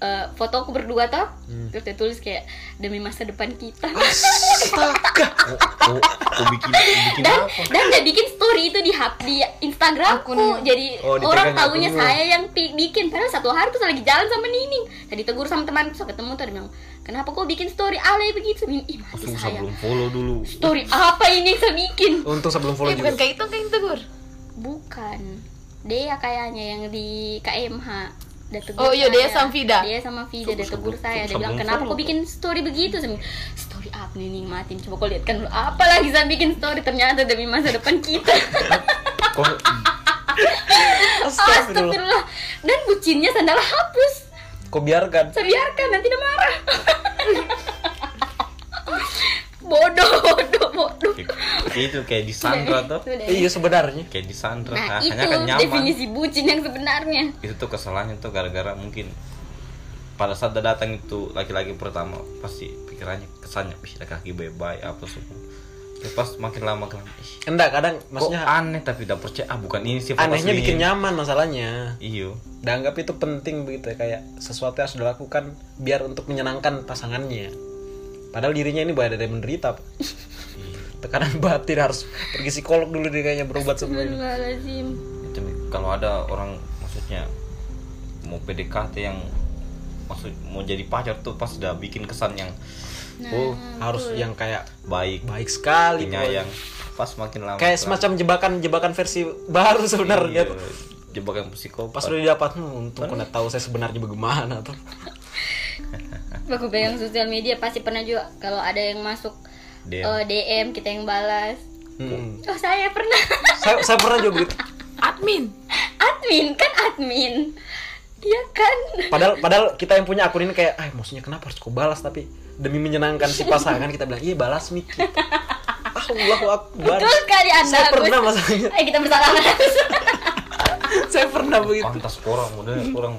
Speaker 4: eh, foto aku berdua toh
Speaker 2: Hmm.
Speaker 4: terus dia tulis kayak demi masa depan kita
Speaker 1: astaga.
Speaker 2: kok kok kok bikin bikin
Speaker 4: dan
Speaker 2: apa
Speaker 4: dan dia bikin story itu di hap- di Instagramku jadi
Speaker 2: Oh, dipegang
Speaker 4: orang tahunya
Speaker 2: akunnya.
Speaker 4: saya yang pi- bikin padahal satu hari tuh saya lagi jalan sama Nining tadi tegur sama teman so ketemu tuh dia bilang kenapa kok bikin story alay begitu Nining, ih mati
Speaker 2: langsung bisa
Speaker 4: saya
Speaker 2: belum follow dulu
Speaker 4: story apa ini yang saya bikin
Speaker 1: Untung sebelum follow
Speaker 5: Iya bukan
Speaker 1: juga.
Speaker 5: kayak itu kayak yang tegur.
Speaker 4: bukan dia kayaknya yang di KMH Dia tegur
Speaker 5: Oh iya, dia
Speaker 4: saya.
Speaker 5: sama Vida.
Speaker 4: Dia sama Vida dia tegur saya. Dia bilang kenapa kok bikin story begitu? Saya bilang, story apa nih nikmatin? Coba kau lihat kan dulu. apa lagi saya bikin story ternyata demi masa depan kita.
Speaker 1: Kok-
Speaker 5: Oh,
Speaker 1: Astagfirullah.
Speaker 4: Astagfirullah. Dan bucinnya sandal hapus.
Speaker 1: Kok biarkan?
Speaker 4: Saya biarkan nanti dia marah. bodoh, bodoh, bodoh.
Speaker 2: itu kayak disandra tuh
Speaker 4: Sudah.
Speaker 1: Iya sebenarnya.
Speaker 2: kayak disandra
Speaker 4: Nah,
Speaker 2: hanya
Speaker 4: itu
Speaker 2: kan nyaman
Speaker 4: definisi bucin yang sebenarnya.
Speaker 2: itu tuh kesalahannya tuh gara-gara mungkin pada saat dia datang itu laki-laki pertama pasti pikirannya kesannya ih laki-laki bye-bye apa semua Ya, pas makin lama makin lama ih
Speaker 1: Enggak, kadang
Speaker 2: maksudnya
Speaker 1: maksudnya
Speaker 2: aneh tapi udah percaya ah bukan ini Iya. sih
Speaker 1: anehnya bikin nyaman masalahnya.
Speaker 2: iyo
Speaker 1: Dianggap itu penting begitu ya, kayak sesuatu yang harus dilakukan biar untuk menyenangkan pasangannya. Padahal dirinya ini bahaya dari menderita. Pak. Iya. Tekanan batin harus pergi psikolog dulu dia kayaknya berobat semuanya.
Speaker 4: Astagfirullahaladzim.
Speaker 2: itu kalau ada orang maksudnya mau PDKT yang maksud mau jadi pacar tuh pas udah bikin kesan yang
Speaker 1: Oh, harus yang kayak
Speaker 2: baik
Speaker 1: baik sekali.
Speaker 2: penyayang pas makin lama
Speaker 1: Kayak semacam jebakan-jebakan versi baru sebenarnya tuh.
Speaker 2: jebakan psikopat
Speaker 1: Pas udah didapat, hmm, untung kena tahu saya sebenarnya bagaimana tuh.
Speaker 4: Aku pegang sosial media pasti pernah juga kalau ada yang masuk
Speaker 2: DM.
Speaker 4: eh, DM kita yang balas.
Speaker 1: Hmm.
Speaker 4: Oh saya pernah
Speaker 1: Saya, saya pernah juga begitu.
Speaker 5: Admin.
Speaker 4: admin kan admin. Iya kan.
Speaker 1: Padahal padahal kita yang punya akun ini kayak, ah maksudnya kenapa harus kau balas tapi demi menyenangkan si pasangan kita bilang, iya balas mikir. Allah akbar.
Speaker 4: Betul sekali anda.
Speaker 1: Saya
Speaker 4: Agus.
Speaker 1: pernah masalahnya.
Speaker 4: Eh kita bersalah.
Speaker 1: Saya pernah begitu.
Speaker 2: pantas orang modelnya orang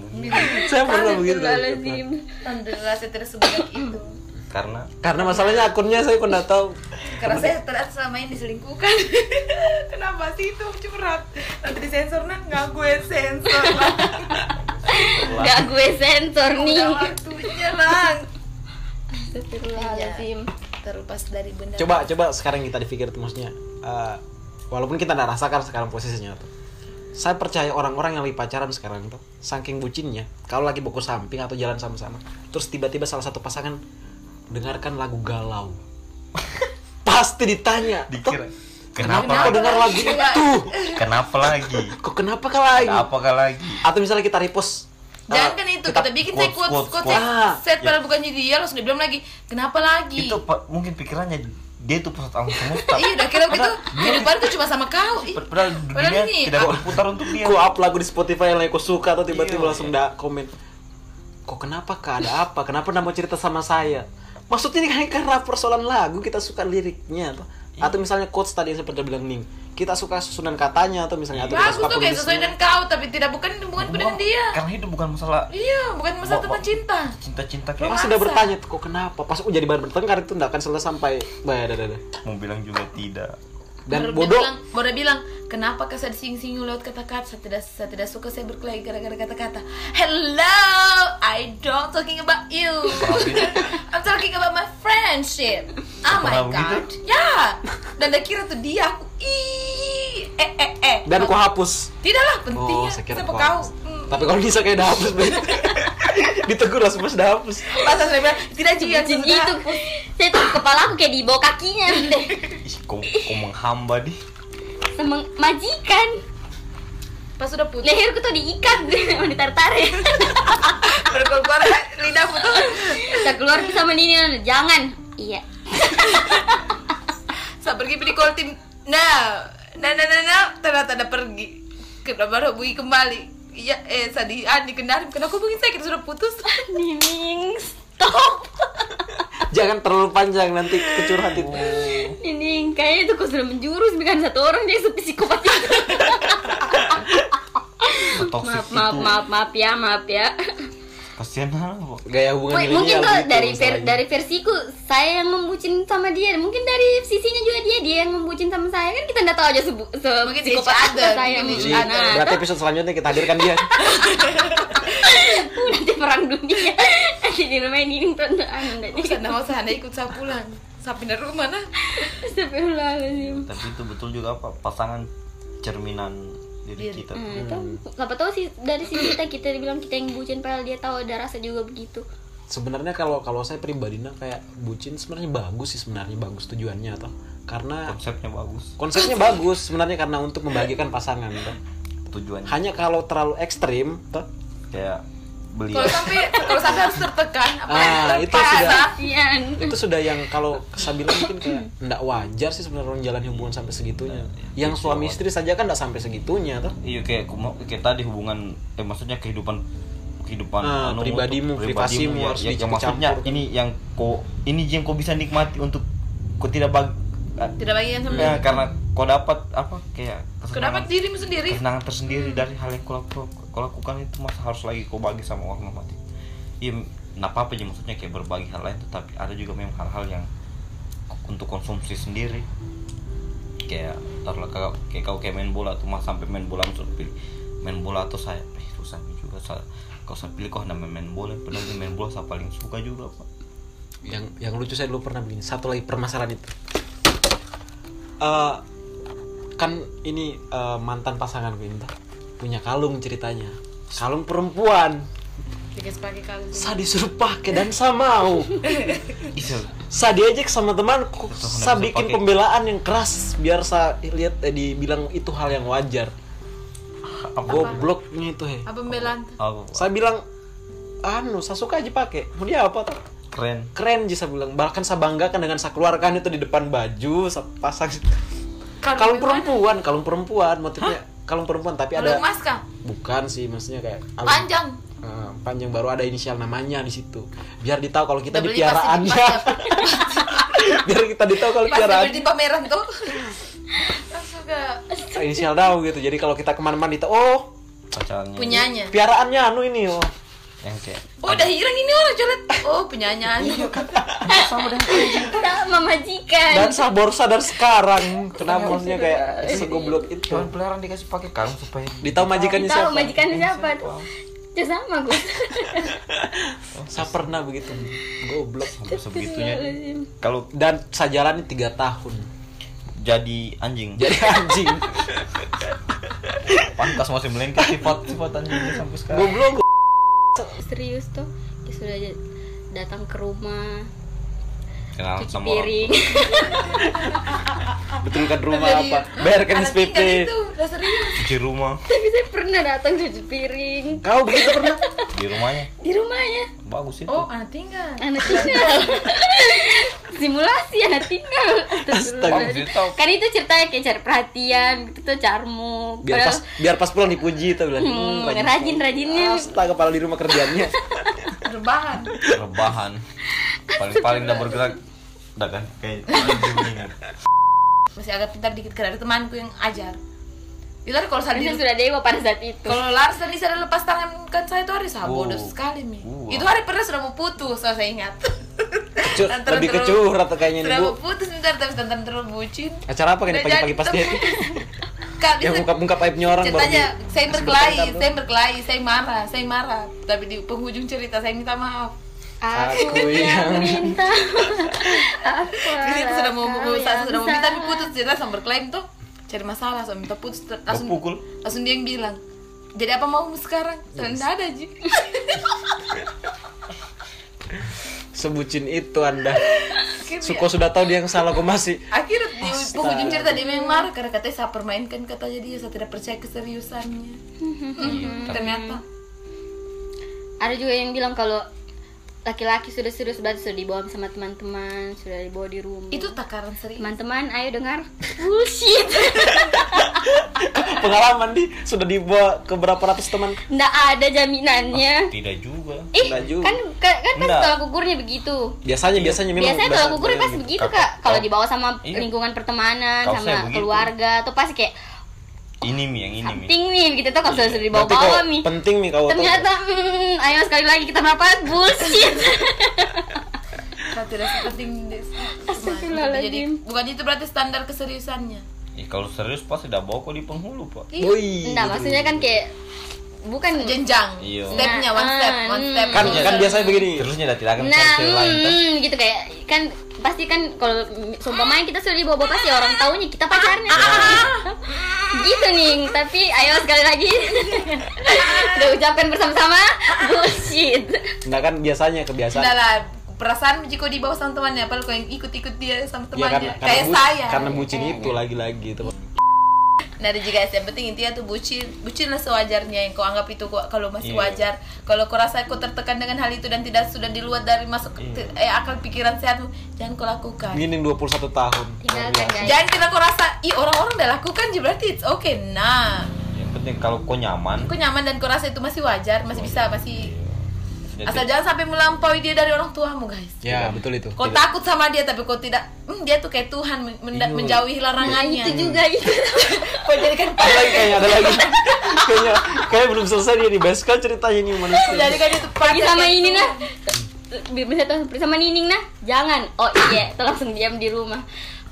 Speaker 1: Saya pernah begitu.
Speaker 4: Astagfirullahaladzim.
Speaker 5: Alhamdulillah saya tidak sebudak itu.
Speaker 2: karena
Speaker 1: Karena masalahnya akunnya saya kok nggak tahu.
Speaker 5: Karena saya terasa selama ini diselingkuhkan. Kenapa sih itu curhat? Nanti disensor nah nggak gue sensor.
Speaker 4: Gak gue sensor nih.
Speaker 5: Udah waktunya lang.
Speaker 4: Astagfirullahaladzim.
Speaker 5: Terlepas dari benda.
Speaker 1: Coba coba sekarang kita dipikir tuh maksudnya. eh, walaupun kita nggak rasakan sekarang posisinya tuh. Saya percaya orang-orang yang lagi pacaran sekarang tuh saking bucinnya, kalau lagi buku samping atau jalan sama-sama, terus tiba-tiba salah satu pasangan dengarkan lagu galau. Pasti ditanya,
Speaker 2: dikira
Speaker 1: "Tuh,
Speaker 2: kenapa
Speaker 1: Kenapa kau
Speaker 2: lagi?
Speaker 1: dengar lagu itu?
Speaker 2: kenapa lagi
Speaker 1: Kok kenapa kalah ini?
Speaker 2: kenapa kah lagi
Speaker 1: Atau misalnya kita repost eh,
Speaker 5: Jangan kan itu kita bikin saya
Speaker 2: quotes,
Speaker 5: quotes
Speaker 2: quotes, Ah, ya.
Speaker 5: quotes,
Speaker 1: quotes.
Speaker 5: yang set padahal bukannya dia langsung dibilang lagi kenapa lagi?
Speaker 2: itu pa- mungkin pikirannya dia tuh pusat alam semesta
Speaker 5: Iya udah kira begitu kehidupanku cuma sama kau. Ih,
Speaker 2: Pad- padahal
Speaker 5: Padahal
Speaker 2: dunia
Speaker 5: ini-
Speaker 2: tidak berputar untuk dia
Speaker 1: ku up lagu di Spotify yang aku suka atau tiba-tiba
Speaker 2: Iya,
Speaker 1: langsung ndak komen kok kenapa kak ada apa kenapa ndak mau cerita sama saya maksudnya ini kan karena persoalan lagu kita suka liriknya atau,
Speaker 5: Iya.
Speaker 1: atau misalnya quotes tadi yang seperti bilang Ning kita suka susunan katanya atau misalnya atau kita
Speaker 5: Bagus
Speaker 1: suka
Speaker 5: Iya. tuh kayak sesuai
Speaker 1: puisinya.
Speaker 5: dengan kau tapi tidak bukan bukan dengan dia.
Speaker 2: karena itu bukan masalah
Speaker 5: Iya, bukan masalah
Speaker 2: Ba-
Speaker 5: tentang
Speaker 2: ba-
Speaker 5: cinta.
Speaker 2: cinta-cinta
Speaker 1: Pas
Speaker 2: kayak
Speaker 1: udah bertanya tuh kok kenapa pas udah jadi bahan bertengkar itu ndak akan selesai sampai bah, dah, dah, dah.
Speaker 2: mau bilang juga tidak
Speaker 1: dan
Speaker 5: Baru dia
Speaker 1: bodoh
Speaker 5: bilang, baru dia bilang, kenapa kau saya disinggung-singgung lewat kata-kata? Saya tidak, saya tidak suka saya berkelahi gara-gara kata-kata. Hello, I don't talking about you. I'm talking about my friendship.
Speaker 2: Pernah
Speaker 5: Oh my god.
Speaker 1: gitu?
Speaker 2: begitu?
Speaker 5: Ya. Dan dia kira tuh dia aku. Ih, eh eh eh.
Speaker 1: dan ku hapus
Speaker 5: Tidaklah
Speaker 1: Oh,
Speaker 5: pentingnya
Speaker 1: saya kira
Speaker 5: siapa
Speaker 1: kau
Speaker 5: kau.
Speaker 1: hapus.
Speaker 5: Hmm.
Speaker 1: Tapi kalau bisa kayak udah hapus, Ben. Ditegur langsung pas udah hapus.
Speaker 5: Pas saya bilang, tidak dia
Speaker 4: Bucin Iya, itu. Saya tuh kepala aku kayak di bawah kakinya.
Speaker 2: ih kok, kok menghamba di
Speaker 4: Semang majikan.
Speaker 5: Pas sudah putus,
Speaker 4: Leherku tuh diikat. Mau ditarik-tarik.
Speaker 5: baru keluar lidah putus.
Speaker 4: Kita keluar sama Nina. Jangan. Iya.
Speaker 5: Saya pergi pilih call team. Nah, nah, nah, nah, nah. ternyata ada pergi. Kenapa baru hubungi kembali? Iya, eh, Sadi, Andi, kendaraan. Kenapa hubungi saya? Kita sudah putus.
Speaker 4: Nining, stop.
Speaker 1: Jangan terlalu panjang nanti kecurhat itu.
Speaker 5: Oh.
Speaker 4: Nining, kayaknya itu kau sudah menjurus bukan satu orang dia sepsikopat itu.
Speaker 2: toxic
Speaker 4: maaf, maaf,
Speaker 2: itu
Speaker 4: maaf, maaf ya, maaf ya.
Speaker 2: kasihan apa
Speaker 1: Gaya hubungan
Speaker 4: Mungkin
Speaker 1: milenial
Speaker 4: mungkin tuh
Speaker 1: gitu
Speaker 4: dari ver-
Speaker 1: masalahnya.
Speaker 4: dari versiku saya yang membucin sama dia, mungkin dari sisinya juga dia dia yang membucin sama saya kan kita nggak tahu aja sebu se
Speaker 5: Mungkin each
Speaker 4: psikopat apa
Speaker 5: other,
Speaker 4: saya
Speaker 5: mungkin
Speaker 1: Jadi,
Speaker 5: each other.
Speaker 4: Nah,
Speaker 1: berarti episode selanjutnya kita hadirkan dia.
Speaker 4: tuh, nanti perang dunia nanti di rumah ini tonton anda nih.
Speaker 5: Saya mau saya ikut saya pulang. Saya pindah rumah, nah.
Speaker 4: Astagfirullahaladzim.
Speaker 2: tapi itu betul juga apa pasangan cerminan diri kita tuh.
Speaker 4: Nah,
Speaker 5: Hmm.
Speaker 4: itu siapa tahu sih dari sisi kita kita dibilang kita yang bucin padahal dia tahu ada rasa juga begitu.
Speaker 1: Sebenarnya kalau kalau saya pribadinya kayak bucin sebenarnya bagus sih sebenarnya bagus tujuannya atau karena
Speaker 2: konsepnya bagus
Speaker 1: konsepnya bagus sebenarnya karena untuk membahagiakan pasangan toh.
Speaker 2: tujuannya
Speaker 1: Hanya kalau terlalu ekstrim toh,
Speaker 2: kayak beliau
Speaker 5: Kalau sampai kalau sampai harus tertekan apa
Speaker 1: Iya. Ah, itu
Speaker 5: terpaksa.
Speaker 1: sudah-
Speaker 4: Iya.
Speaker 1: itu sudah yang kalau kesabilan mungkin kayak nggak wajar sih sebenarnya orang jalan hubungan sampai segitunya yang suami istri saja kan nggak sampai segitunya tuh
Speaker 2: iya kayak kuma- kayak tadi hubungan eh, maksudnya kehidupan kehidupan
Speaker 1: Ah,
Speaker 2: anumu
Speaker 1: pribadimu,
Speaker 2: tuh,
Speaker 1: privasimu
Speaker 2: ya,
Speaker 1: harus
Speaker 2: ya, yang
Speaker 1: dicampur.
Speaker 2: maksudnya ini yang kau ini yang kau bisa nikmati untuk kau tidak bag eh,
Speaker 5: Tidak bagian sama
Speaker 1: Iya.
Speaker 2: ya, karena kau dapat apa kayak
Speaker 5: Kau
Speaker 2: kesenangan,
Speaker 5: dapat dirimu sendiri. Hmm.
Speaker 2: kesenangan tersendiri dari hal yang kau laku- kau lakukan itu mas harus lagi kau bagi sama orang mati iya nggak apa apa sih maksudnya kayak berbagi hal lain tetapi ada juga memang hal-hal yang untuk konsumsi sendiri kayak taruhlah kau kayak kau kayak main bola tuh mas sampai main bola langsung pilih main bola atau saya eh susah juga saya kau saya pilih kau hendak main, main bola padahal dia main bola saya paling suka juga pak
Speaker 1: yang yang lucu saya dulu pernah begini satu lagi permasalahan itu Eh, kan ini eh, mantan pasangan gue entah punya kalung ceritanya kalung perempuan
Speaker 5: Dikasih pakai kalung.
Speaker 1: saya disuruh pakai dan saya mau
Speaker 2: Ih,
Speaker 1: saya diajak sama temanku
Speaker 2: Terus kenapa
Speaker 1: saya
Speaker 2: bisa
Speaker 1: bikin
Speaker 2: pakai?
Speaker 1: pembelaan yang keras biar saya lihat eh, dibilang itu hal yang wajar gobloknya itu he
Speaker 5: Apa pembelaan?
Speaker 2: apa Pak?
Speaker 1: saya bilang anu saya suka aja pakai mau dia apa tuh
Speaker 2: keren
Speaker 1: keren sih saya bilang bahkan saya banggakan dengan saya keluarkan itu di depan baju saya pasang kalung perempuan kalung perempuan motifnya kalung perempuan tapi ada
Speaker 5: Kalau emas kah?
Speaker 1: bukan sih maksudnya kayak kalung-
Speaker 5: Panjang.
Speaker 1: Eh, panjang baru ada inisial namanya di situ biar ditahu kalau kita
Speaker 5: Udah
Speaker 1: di
Speaker 5: beli pasti di
Speaker 1: piaraannya biar kita ditahu kalau
Speaker 5: Pas
Speaker 1: piaraan
Speaker 5: di pameran tuh. Langsung ke
Speaker 1: inisial daun gitu jadi kalau kita kemana-mana ditahu oh
Speaker 2: pacarnya
Speaker 5: punyanya.
Speaker 1: piaraannya anu ini oh
Speaker 2: yang kayak
Speaker 5: Oh, udah hilang ini orang colet. Oh, punyanya.
Speaker 4: Sama majikan.
Speaker 1: dan sah borsa dari sekarang kenapa maksudnya kayak segoblok itu
Speaker 2: cuman peliharaan dikasih pakai kalung supaya
Speaker 1: ditahu majikannya
Speaker 4: Tahu
Speaker 1: siapa
Speaker 4: majikan siapa tuh? Ya sama gue.
Speaker 1: saya pernah begitu goblok
Speaker 2: sampai sebegitunya kalau
Speaker 1: dan saya jalani tiga tahun
Speaker 2: jadi anjing
Speaker 1: jadi anjing
Speaker 2: pantas masih melengket sifat sifat anjingnya sampai sekarang
Speaker 1: goblok
Speaker 4: Serius tuh. Dia sudah aja datang ke rumah
Speaker 1: Ah,
Speaker 2: kenalan
Speaker 4: cuci
Speaker 2: sama orang
Speaker 4: piring.
Speaker 1: betulkan rumah apa bayarkan
Speaker 5: Anak
Speaker 1: SPP
Speaker 5: tingkat itu, udah serius.
Speaker 2: cuci rumah
Speaker 4: Tapi saya pernah datang cuci piring
Speaker 1: kau begitu pernah
Speaker 2: di rumahnya
Speaker 4: di rumahnya.
Speaker 2: bagus itu
Speaker 5: Oh, anak tinggal.
Speaker 4: Anak tinggal. Simulasi anak tinggal. Astagfirullahaladzim.
Speaker 2: Astaga.
Speaker 4: Kan itu ceritanya kayak cari perhatian, gitu tuh carmu.
Speaker 1: biar pas biar pas pulang dipuji itu bilang
Speaker 4: Hmm,
Speaker 1: "Hmm,
Speaker 4: rajin-rajinnya."
Speaker 1: astaga kepala di rumah kerjaannya
Speaker 5: Rebahan.
Speaker 2: rebahan paling paling udah bergerak udah kan kayak anjing kan. ini.
Speaker 5: Masih agak pintar dikit karena ada temanku yang ajar. Itu kalau saya
Speaker 4: Saya
Speaker 5: di
Speaker 4: kan sudah dewa pada saat itu.
Speaker 5: Kalau Lars dan Nisa lepas tangan kan saya itu hari sah
Speaker 2: Oh.
Speaker 5: bodoh sekali nih.
Speaker 2: Wah.
Speaker 5: Itu hari pernah sudah mau putus, so saya ingat.
Speaker 1: Cu-
Speaker 5: Tantan
Speaker 1: lebih
Speaker 5: terus-
Speaker 1: kecur atau kayaknya nih
Speaker 5: Sudah
Speaker 1: bu
Speaker 5: mau putus ntar tapi tantan terus bucin.
Speaker 1: acara apa
Speaker 5: Udah
Speaker 1: kayaknya pagi-pagi
Speaker 5: jadi
Speaker 1: pas dia
Speaker 5: terputus. Kak,
Speaker 1: yang
Speaker 5: bisa-
Speaker 1: ungkap-ungkap aibnya orang baru
Speaker 5: Ceritanya
Speaker 1: di-
Speaker 5: saya
Speaker 1: pas
Speaker 5: berkelahi,
Speaker 1: bertengkar tuh.
Speaker 5: saya berkelahi, saya marah, saya marah. Tapi di penghujung cerita saya minta maaf.
Speaker 1: Aku yang-
Speaker 4: minta apa?
Speaker 5: Jadi itu sudah mau
Speaker 4: kau
Speaker 5: mau-
Speaker 4: yang
Speaker 5: sudah mau minta
Speaker 4: salah.
Speaker 5: tapi putus cerita sama berkelahi tuh cari masalah, sama minta putus ter- langsung
Speaker 2: pukul.
Speaker 5: langsung dia yang bilang. Jadi apa maumu sekarang? Saya "Nggak ada, Ji.
Speaker 1: sebucin itu anda
Speaker 5: Akhirnya- ya,
Speaker 1: Suko sudah tahu dia yang salah kok masih
Speaker 5: Akhirnya di penghujung cerita dia memang marah karena katanya saya permainkan katanya dia saya tidak percaya keseriusannya. Hmm, Ternyata
Speaker 4: Ada juga yang bilang kalau laki-laki sudah serius banget sudah dibawa sama teman-teman, sudah dibawa di rumah.
Speaker 5: itu takaran serius.
Speaker 4: teman-teman ayo dengar bullshit
Speaker 1: pengalaman di sudah dibawa ke berapa ratus teman
Speaker 4: nggak ada jaminannya
Speaker 2: tidak Oh. juga
Speaker 4: ih
Speaker 1: nggak juga.
Speaker 4: kan kan, kan pasti
Speaker 2: Nggak.
Speaker 4: tolak ukurnya begitu
Speaker 5: Iya.
Speaker 1: biasanya biasanya memang
Speaker 4: biasanya
Speaker 1: biasa-
Speaker 4: tolak ukurnya pasti
Speaker 1: biasa-
Speaker 4: begitu
Speaker 2: Kalau-
Speaker 4: kak kalau
Speaker 2: kalau-
Speaker 4: dibawa sama
Speaker 2: iya.
Speaker 4: lingkungan pertemanan
Speaker 2: Kalau saya
Speaker 4: sama
Speaker 2: begitu.
Speaker 4: keluarga tuh pasti kayak
Speaker 2: ini mi yang ini mi
Speaker 4: penting nih begitu tuh kalau sudah sudah
Speaker 1: Berarti kau
Speaker 4: dibawa-bawa nih
Speaker 1: penting nih kau
Speaker 4: ternyata hmm, ayo sekali lagi kita merapat bullshit
Speaker 5: Saya tidak seperti
Speaker 4: Astagfirullahaladzim.
Speaker 5: bukan itu berarti standar keseriusannya.
Speaker 2: Ya, kalau serius pasti udah bawa kok di penghulu pak
Speaker 1: Woi.
Speaker 4: nah maksudnya kan kayak bukan
Speaker 5: Jenjang,
Speaker 2: Iya.
Speaker 5: stepnya one step, one step.
Speaker 1: kan kan biasanya begini.
Speaker 2: terusnya udah tidak akan
Speaker 4: nah
Speaker 2: cari lain
Speaker 4: hmm,
Speaker 2: toh.
Speaker 4: gitu kayak kan pasti kan kalau seumpamanya kita sudah dibawa-bawa pasti orang taunya kita pacarnya ah. gitu nih tapi ayo sekali lagi udah ucapkan bersama-sama bullshit
Speaker 1: Nah kan biasanya kebiasaan.
Speaker 5: Udah lah, perasaan jika di bawah sama temannya, apalagi kalau yang ikut-ikut dia sama
Speaker 1: ya karena
Speaker 5: temannya, Eh.
Speaker 1: karena,
Speaker 5: kayak
Speaker 1: bu-
Speaker 5: saya.
Speaker 1: karena bucin itu lagi-lagi teman.
Speaker 5: Nah, ada juga yang penting intinya tuh bucin, bucinlah sewajarnya yang kau anggap itu kau- kalau masih
Speaker 1: Iya.
Speaker 5: wajar. Kalau kau rasa kau tertekan dengan hal itu dan tidak sudah di luar dari masuk
Speaker 1: Iya.
Speaker 5: eh, akal pikiran sehatmu, jangan kau lakukan.
Speaker 1: Mining 21 tahun. Iya.
Speaker 4: Tinggalkan,
Speaker 1: Luar biasa.
Speaker 4: guys.
Speaker 5: Jangan kena kau rasa, ih orang-orang udah lakukan jadi berarti it's okay. Nah,
Speaker 2: yang penting kalau kau nyaman
Speaker 5: kau nyaman dan kau rasa itu masih wajar, masih bisa, masih
Speaker 2: sudah
Speaker 5: asal
Speaker 2: tidak-
Speaker 5: jangan sampai melampaui dia dari orang tuamu, guys.
Speaker 1: Ya, betul itu.
Speaker 5: Kau
Speaker 1: Tidak-
Speaker 5: takut sama dia tapi kau tidak, hmm, dia tuh kayak Tuhan men- menda-
Speaker 1: Iya.
Speaker 5: menjauhi
Speaker 4: Nah, itu
Speaker 5: larangannya.
Speaker 4: juga itu.
Speaker 5: Kau jadikan
Speaker 1: ada lagi kayaknya, ada lagi. kayaknya kayaknya belum selesai dia dibahas kan ceritanya nih manusia.
Speaker 5: jadikan itu
Speaker 4: Pergi sama
Speaker 5: pacar-
Speaker 4: ini nah. Bisa seperti sama Nining nah. Jangan. Oh iya, tuh langsung diam di rumah.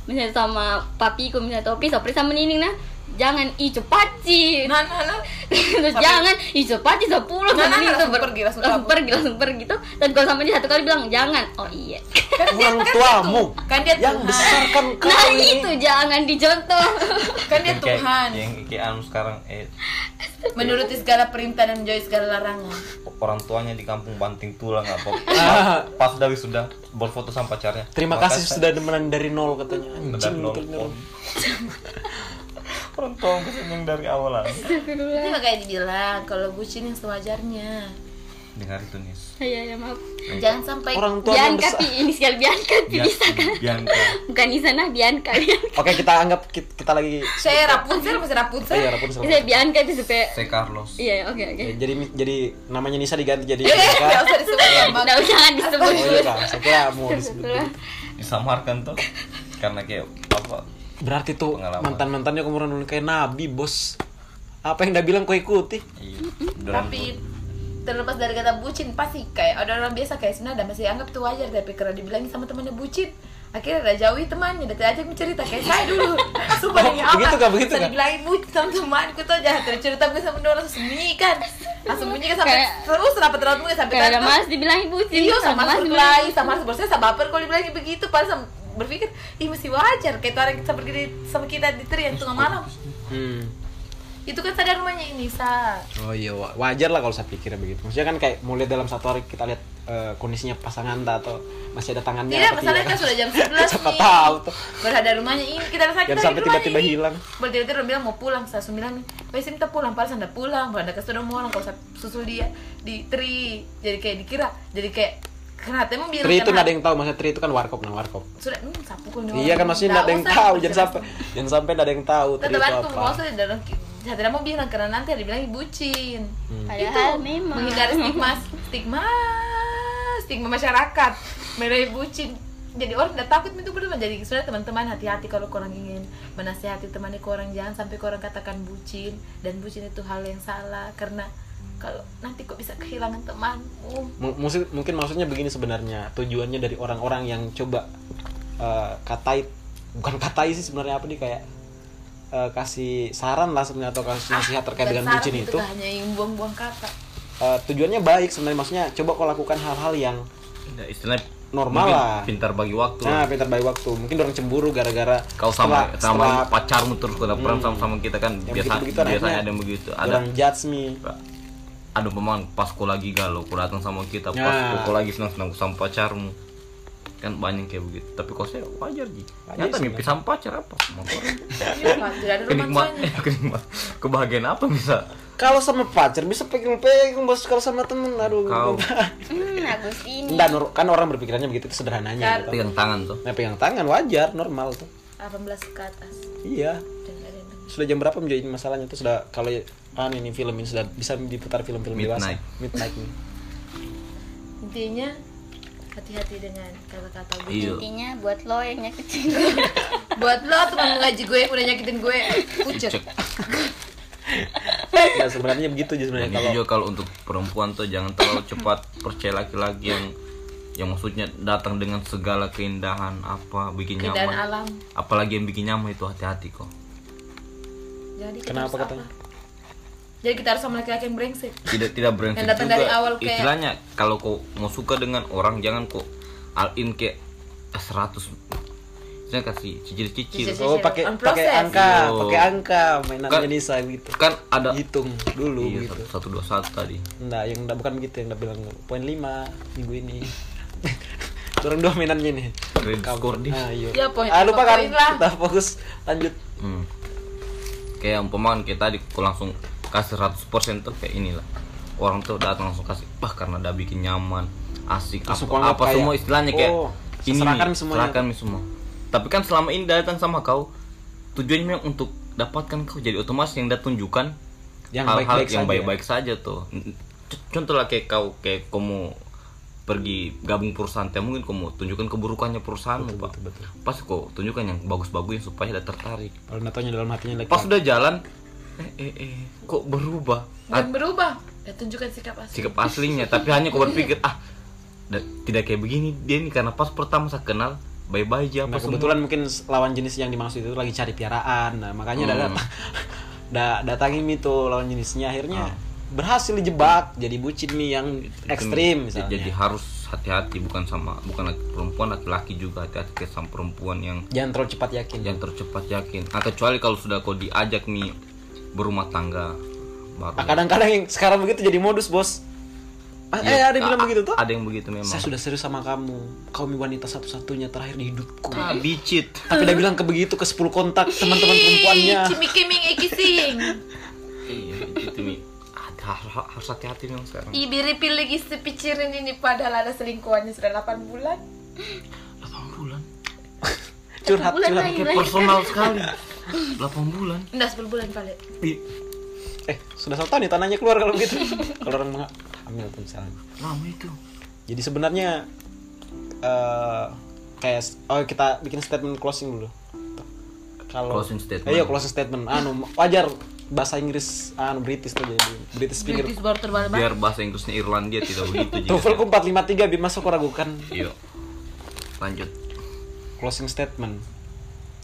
Speaker 4: Misalnya sama papiku, misalnya topi, seperti sama Nining nah. Jangan ih cepat sih.
Speaker 5: Nah, nah, nah.
Speaker 4: Terus jangan ih cepat sih 10
Speaker 5: Nah, nah,
Speaker 4: sama Nining
Speaker 5: langsung
Speaker 4: tuh ber-
Speaker 5: pergi, langsung kabur.
Speaker 4: pergi langsung pergi tuh. Dan kalau sama dia satu kali bilang jangan. Oh iya.
Speaker 1: Orang tuamu
Speaker 5: Kan dia
Speaker 1: yang
Speaker 5: Tuhan.
Speaker 1: besarkan kau
Speaker 4: Nah,
Speaker 1: ini.
Speaker 4: itu jangan dicontoh.
Speaker 5: kan dia
Speaker 2: yang kayak-
Speaker 5: Tuhan
Speaker 2: yang kayak anu sekarang eh
Speaker 5: menuruti segala perintah dan menjauhi segala larangan
Speaker 2: orang tuanya di kampung banting tulang apa
Speaker 1: Ah.
Speaker 2: pas dari sudah berfoto sama pacarnya
Speaker 1: Terima kasih sudah demenan dari nol katanya.
Speaker 2: benar
Speaker 1: Anjing
Speaker 2: nol
Speaker 1: betul nol.
Speaker 2: orang tua seneng dari awal
Speaker 5: itu makanya dibilang kalau bucin yang sewajarnya
Speaker 2: dengar itu nih
Speaker 4: Iya, ya maaf.
Speaker 5: jangan sampai
Speaker 1: Orang tua yang
Speaker 4: Bianca
Speaker 1: besar.
Speaker 4: Pi, ini sekali Bianca Pi.
Speaker 2: Bianca
Speaker 4: Bukan Isana, Bianca, Bianca.
Speaker 1: Oke, kita anggap ki- kita lagi
Speaker 5: saya Rapunzel masih Rapunzel
Speaker 1: Iya, Rapunzel.
Speaker 4: Saya Bianca itu supaya
Speaker 2: saya Carlos
Speaker 4: Iya, oke oke.
Speaker 1: Ya, jadi jadi namanya Nisa diganti jadi
Speaker 4: Ya,
Speaker 5: nggak
Speaker 1: Bianca.
Speaker 5: usah disebut nama
Speaker 4: Enggak usah disebut.
Speaker 1: Oh iya kak, saya kira mau disebut.
Speaker 2: disamarkan tuh karena kayak apa
Speaker 1: Berarti tuh
Speaker 2: Pengalaman.
Speaker 1: mantan mantannya kemudian udah kayak nabi bos. Apa yang udah bilang kau ikuti?
Speaker 2: iya dalam-
Speaker 5: tapi terlepas dari kata bucin pasti kayak ada orang biasa kayak senada masih anggap itu wajar tapi karena dibilangin sama temannya bucin akhirnya udah jauhi temannya udah ajak cerita kayak saya dulu sumpah
Speaker 1: Oh,
Speaker 5: demi Allah
Speaker 1: begitu, Kak, begitu, Kak?
Speaker 5: saya dibilangin bucin sama temanku tuh jahat terus cerita gue sama dia orang sembunyi kan langsung sembunyi kan sampai
Speaker 4: Kayak-
Speaker 5: terus rapat rapat gue sampai
Speaker 4: Kayak ada
Speaker 5: kantor.
Speaker 4: Mas dibilangin bucin.
Speaker 5: Iya sama
Speaker 4: Mas
Speaker 5: seperti
Speaker 4: dibilangin
Speaker 5: lain, sama seperti saya sama baper kalau dibilangin begitu padahal sama- berpikir ih masih wajar kayak orang kita pergi di- sama kita di teriak tengah malam
Speaker 1: Hmm.
Speaker 5: itu kan sadar rumahnya ini sa
Speaker 1: Oh iya wa- wajar lah kalau saya pikirnya begitu. Maksudnya kan kayak mulai dalam satu hari kita lihat eh, kondisinya pasangan tak atau masih ada tangannya. apa
Speaker 5: tidak masalahnya kan sudah jam 11
Speaker 1: Siapa
Speaker 5: nih
Speaker 1: tahu tuh.
Speaker 5: berada rumahnya ini kita rasa
Speaker 1: Jangan
Speaker 5: kita
Speaker 1: sampai
Speaker 5: di rumahnya
Speaker 1: tiba-tiba
Speaker 5: ini.
Speaker 1: hilang.
Speaker 5: Baru tiba-tiba orang bilang mau pulang saya sembilan pasti minta pulang padahal anda pulang padahal anda sudah mau pulang kalau saya susul dia di tri jadi kayak dikira jadi kayak kenapa emang bilang
Speaker 1: Tri itu
Speaker 5: kenapa?
Speaker 1: nggak ada yang tahu, maksudnya Tri itu kan warkop, nah warkop.
Speaker 5: sudah hmm, sapu kan
Speaker 1: Iya kan maksudnya nggak ada yang tahu, jangan sampai Iya, jangan sampai nggak ada yang tahu Tri
Speaker 5: tetap
Speaker 1: itu
Speaker 5: aku
Speaker 1: apa.
Speaker 5: mau saya dalam saya tidak mau bilang karena nanti ada bilang bucin
Speaker 1: Hmm.
Speaker 4: Padahal memang.
Speaker 5: menghindari stigma stigma stigma masyarakat mengenai bucin jadi orang tidak takut itu benar jadi sudah teman-teman hati-hati kalau korang ingin menasehati temannya korang jangan sampai korang katakan bucin dan bucin itu hal yang salah karena kalau nanti kok bisa kehilangan temanmu
Speaker 1: M- mungkin mungkin maksudnya begini sebenarnya tujuannya dari orang-orang yang coba eh, katai bukan katai sih sebenarnya apa nih kayak eh, kasih saran lah sebenarnya atau kasih nasihat terkait
Speaker 5: Dan
Speaker 1: dengan
Speaker 5: saran
Speaker 1: bucin itu
Speaker 5: kan hanya yang buang-buang kata
Speaker 1: Eh, tujuannya baik sebenarnya maksudnya coba kau lakukan hal-hal yang
Speaker 2: Nah, istilahnya
Speaker 1: Normal
Speaker 2: mungkin
Speaker 1: lah.
Speaker 2: pintar bagi waktu
Speaker 1: nah pintar baik waktu mungkin orang cemburu gara-gara
Speaker 2: kau sama
Speaker 1: setelah-
Speaker 2: sama
Speaker 1: setelah Hmm.
Speaker 2: pacarmu terus kau pernah sama sama kita kan
Speaker 1: Yang
Speaker 2: biasa
Speaker 1: begitu-begitu
Speaker 2: biasanya
Speaker 1: anaknya.
Speaker 2: ada yang begitu ada
Speaker 1: orang judge me
Speaker 2: ada pemain pas kau lagi galau kau datang sama kita pas
Speaker 1: Ya.
Speaker 2: kau- kau lagi senang senang sama pacarmu kan banyak kayak begitu tapi kau saya wajar ji nyata mimpi sama pacar apa Sama orang.
Speaker 5: Iya, tidak ada
Speaker 2: kenikmat
Speaker 5: romansanya
Speaker 2: kenikmat kebahagiaan apa bisa
Speaker 1: kalau sama pacar bisa pegang-pegang bos kalau sama temen aduh
Speaker 2: Kau.
Speaker 4: Hmm, Agus ini.
Speaker 1: Nggak, nor- kan orang berpikirannya begitu itu sederhananya gitu.
Speaker 2: pegang tangan tuh
Speaker 1: nah pegang tangan wajar normal tuh
Speaker 5: 18 ke atas
Speaker 1: iya
Speaker 5: dan nggak ada yang dengar.
Speaker 1: sudah jam berapa menjadi masalahnya itu sudah kalau kan ini film ini sudah bisa diputar film-film dewasa
Speaker 2: Midnight.
Speaker 1: midnight nih
Speaker 5: intinya hati-hati dengan kata-kata bucin
Speaker 2: iya
Speaker 4: Intinya buat lo yang nyakitin.
Speaker 5: buat lo teman ngaji gue yang udah nyakitin gue pucet
Speaker 2: Cek.
Speaker 1: ya sebenarnya begitu aja
Speaker 2: Dan
Speaker 1: sebenarnya
Speaker 2: itu
Speaker 1: kalau
Speaker 2: juga kalau untuk perempuan tuh jangan terlalu cepat percaya laki-laki yang yang maksudnya datang dengan segala keindahan apa bikin
Speaker 5: Keindahan
Speaker 2: nyaman.
Speaker 5: alam.
Speaker 2: Apalagi yang bikin nyaman itu hati-hati kok.
Speaker 5: jadi kita
Speaker 1: Kenapa
Speaker 5: harus
Speaker 1: katanya?
Speaker 5: apa? jadi kita harus sama laki-laki yang brengsek
Speaker 2: Tidak tidak brengsek
Speaker 5: Yang datang
Speaker 2: juga.
Speaker 5: dari awal kayak-
Speaker 2: Istilahnya kalau kau mau suka dengan orang jangan kok all in kayak 100 saya kasih cicil-cicil
Speaker 5: Cicil-cicil.
Speaker 1: oh pakai
Speaker 5: On
Speaker 1: pakai
Speaker 5: process.
Speaker 1: angka
Speaker 2: Yo.
Speaker 1: pakai angka mainan
Speaker 2: Kan-
Speaker 1: Indonesia gitu
Speaker 2: kan ada
Speaker 1: hitung dulu
Speaker 2: iya,
Speaker 1: gitu
Speaker 2: satu dua satu tadi
Speaker 1: enggak yang enggak bukan begitu yang udah bilang poin 5 minggu ini turun dua mainannya nih
Speaker 2: Kredit skor di
Speaker 1: ah, iya.
Speaker 5: Ya, poin-
Speaker 1: ah, lupa kan
Speaker 5: poin lah.
Speaker 1: kita fokus lanjut
Speaker 2: Hmm. Oke kayak umpamaan kayak tadi aku langsung kasih 100% tuh kayak inilah orang tuh datang langsung kasih wah karena udah bikin nyaman asik
Speaker 1: Langsung kontak
Speaker 2: apa, apa
Speaker 1: kayak,
Speaker 2: semua istilahnya kayak
Speaker 1: oh, ya.
Speaker 2: ini
Speaker 1: serahkan
Speaker 2: nih,
Speaker 1: semuanya.
Speaker 2: serahkan nih semua tapi kan selama ini datang sama kau tujuannya memang untuk dapatkan kau jadi otomatis yang dia tunjukkan
Speaker 1: Yang
Speaker 2: hal-hal
Speaker 1: baik-baik
Speaker 2: yang
Speaker 1: saja.
Speaker 2: baik-baik saja tuh C- contoh lah kayak kau kayak kau mau pergi gabung perusahaan teh mungkin kau mau tunjukkan keburukannya perusahaanmu pak
Speaker 1: betul, betul.
Speaker 2: pas kau tunjukkan yang bagus-bagusnya supaya dia tertarik
Speaker 1: Kalau natonya dalam hatinya lagi
Speaker 2: pas udah jalan eh eh eh kok berubah Ah,
Speaker 5: Dan berubah. Dan tunjukkan sikap asli.
Speaker 2: sikap aslinya tapi hanya kau berpikir ah da- tidak kayak begini dia nih karena pas pertama saya kenal bye bye aja
Speaker 1: Nah,
Speaker 2: apa
Speaker 1: kebetulan mungkin lawan jenis yang dimaksud itu lagi cari piaraan. Nah, makanya udah datang. udah datangin Mi tuh lawan jenisnya akhirnya berhasil dijebak jadi bucin Mi yang ekstrim misalnya.
Speaker 2: jadi harus hati-hati bukan sama bukan laki perempuan laki-laki juga hati-hati kayak sama perempuan yang
Speaker 1: Jangan terlalu cepat yakin.
Speaker 2: yang tercepat yakin nah, kecuali kalau sudah kau diajak nih berumah tangga baru
Speaker 1: Ah, kadang-kadang yang sekarang begitu jadi modus, Bos. Ah, eh,
Speaker 2: Ya,
Speaker 1: ada yang bilang
Speaker 2: a-
Speaker 1: begitu tuh.
Speaker 2: ada yang begitu memang
Speaker 1: Saya sudah serius sama kamu. Kau Mi wanita satu-satunya terakhir di hidupku.
Speaker 2: ah, bicit
Speaker 1: Tapi dia bilang kebegitu ke 10 kontak teman-teman perempuannya.
Speaker 5: Cimikiming ikising.
Speaker 2: iya bicit Mi. ada har- harus hati-hati memang sekarang
Speaker 5: Ibiri pilih gisi pikirin ini padahal ada selingkuhannya sudah 8 bulan.
Speaker 2: 8 bulan
Speaker 1: Curhat
Speaker 4: Bulan
Speaker 1: curhat.
Speaker 4: lagi.
Speaker 2: kayak personal sekali 8 bulan
Speaker 5: Enggak 10 bulan balik.
Speaker 2: Ih,
Speaker 1: Eh, sudah satu tahun nih tanahnya keluar kalau begitu. kalau orang mengha- hamil tuh misalnya.
Speaker 2: lama itu
Speaker 1: Jadi sebenarnya eh kayak oh kita bikin statement closing dulu. Kalau
Speaker 2: Closing statement.
Speaker 1: Eh, Iya, closing statement. Anu wajar bahasa Inggris anu British tuh jadi British speaker.
Speaker 5: British baru terbalik.
Speaker 2: biar bahasa Inggrisnya Irlandia tidak begitu
Speaker 1: TOEFL
Speaker 2: jika
Speaker 1: ku 453 biar masuk ragukan
Speaker 2: yuk lanjut
Speaker 1: closing statement.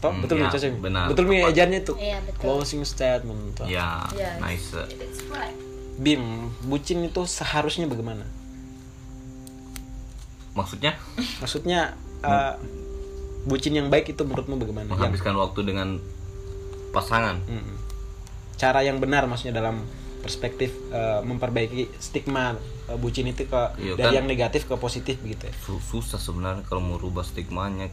Speaker 1: Toh,
Speaker 2: Hmm,
Speaker 1: betul nih
Speaker 2: ya,
Speaker 1: Caca? Mi?
Speaker 2: benar.
Speaker 1: Betul nih
Speaker 2: Tepat.
Speaker 1: ejaannya itu.
Speaker 4: Iya, betul.
Speaker 1: Closing statement. Toh.
Speaker 2: ya
Speaker 5: Yes.
Speaker 2: nice
Speaker 5: It's right.
Speaker 1: Bim, bucin itu seharusnya bagaimana?
Speaker 2: maksudnya
Speaker 1: Maksudnya
Speaker 2: Hmm.
Speaker 1: eh, bucin yang baik itu menurutmu bagaimana? Yang-
Speaker 2: menghabiskan waktu dengan pasangan
Speaker 1: Mm-mm. cara yang benar maksudnya dalam perspektif eh, memperbaiki stigma eh, bucin itu ke
Speaker 2: Iya,
Speaker 1: dari
Speaker 2: kan? Iya.
Speaker 1: yang negatif ke positif begitu ya.
Speaker 2: Su- susah sebenarnya kalau mau rubah stigmanya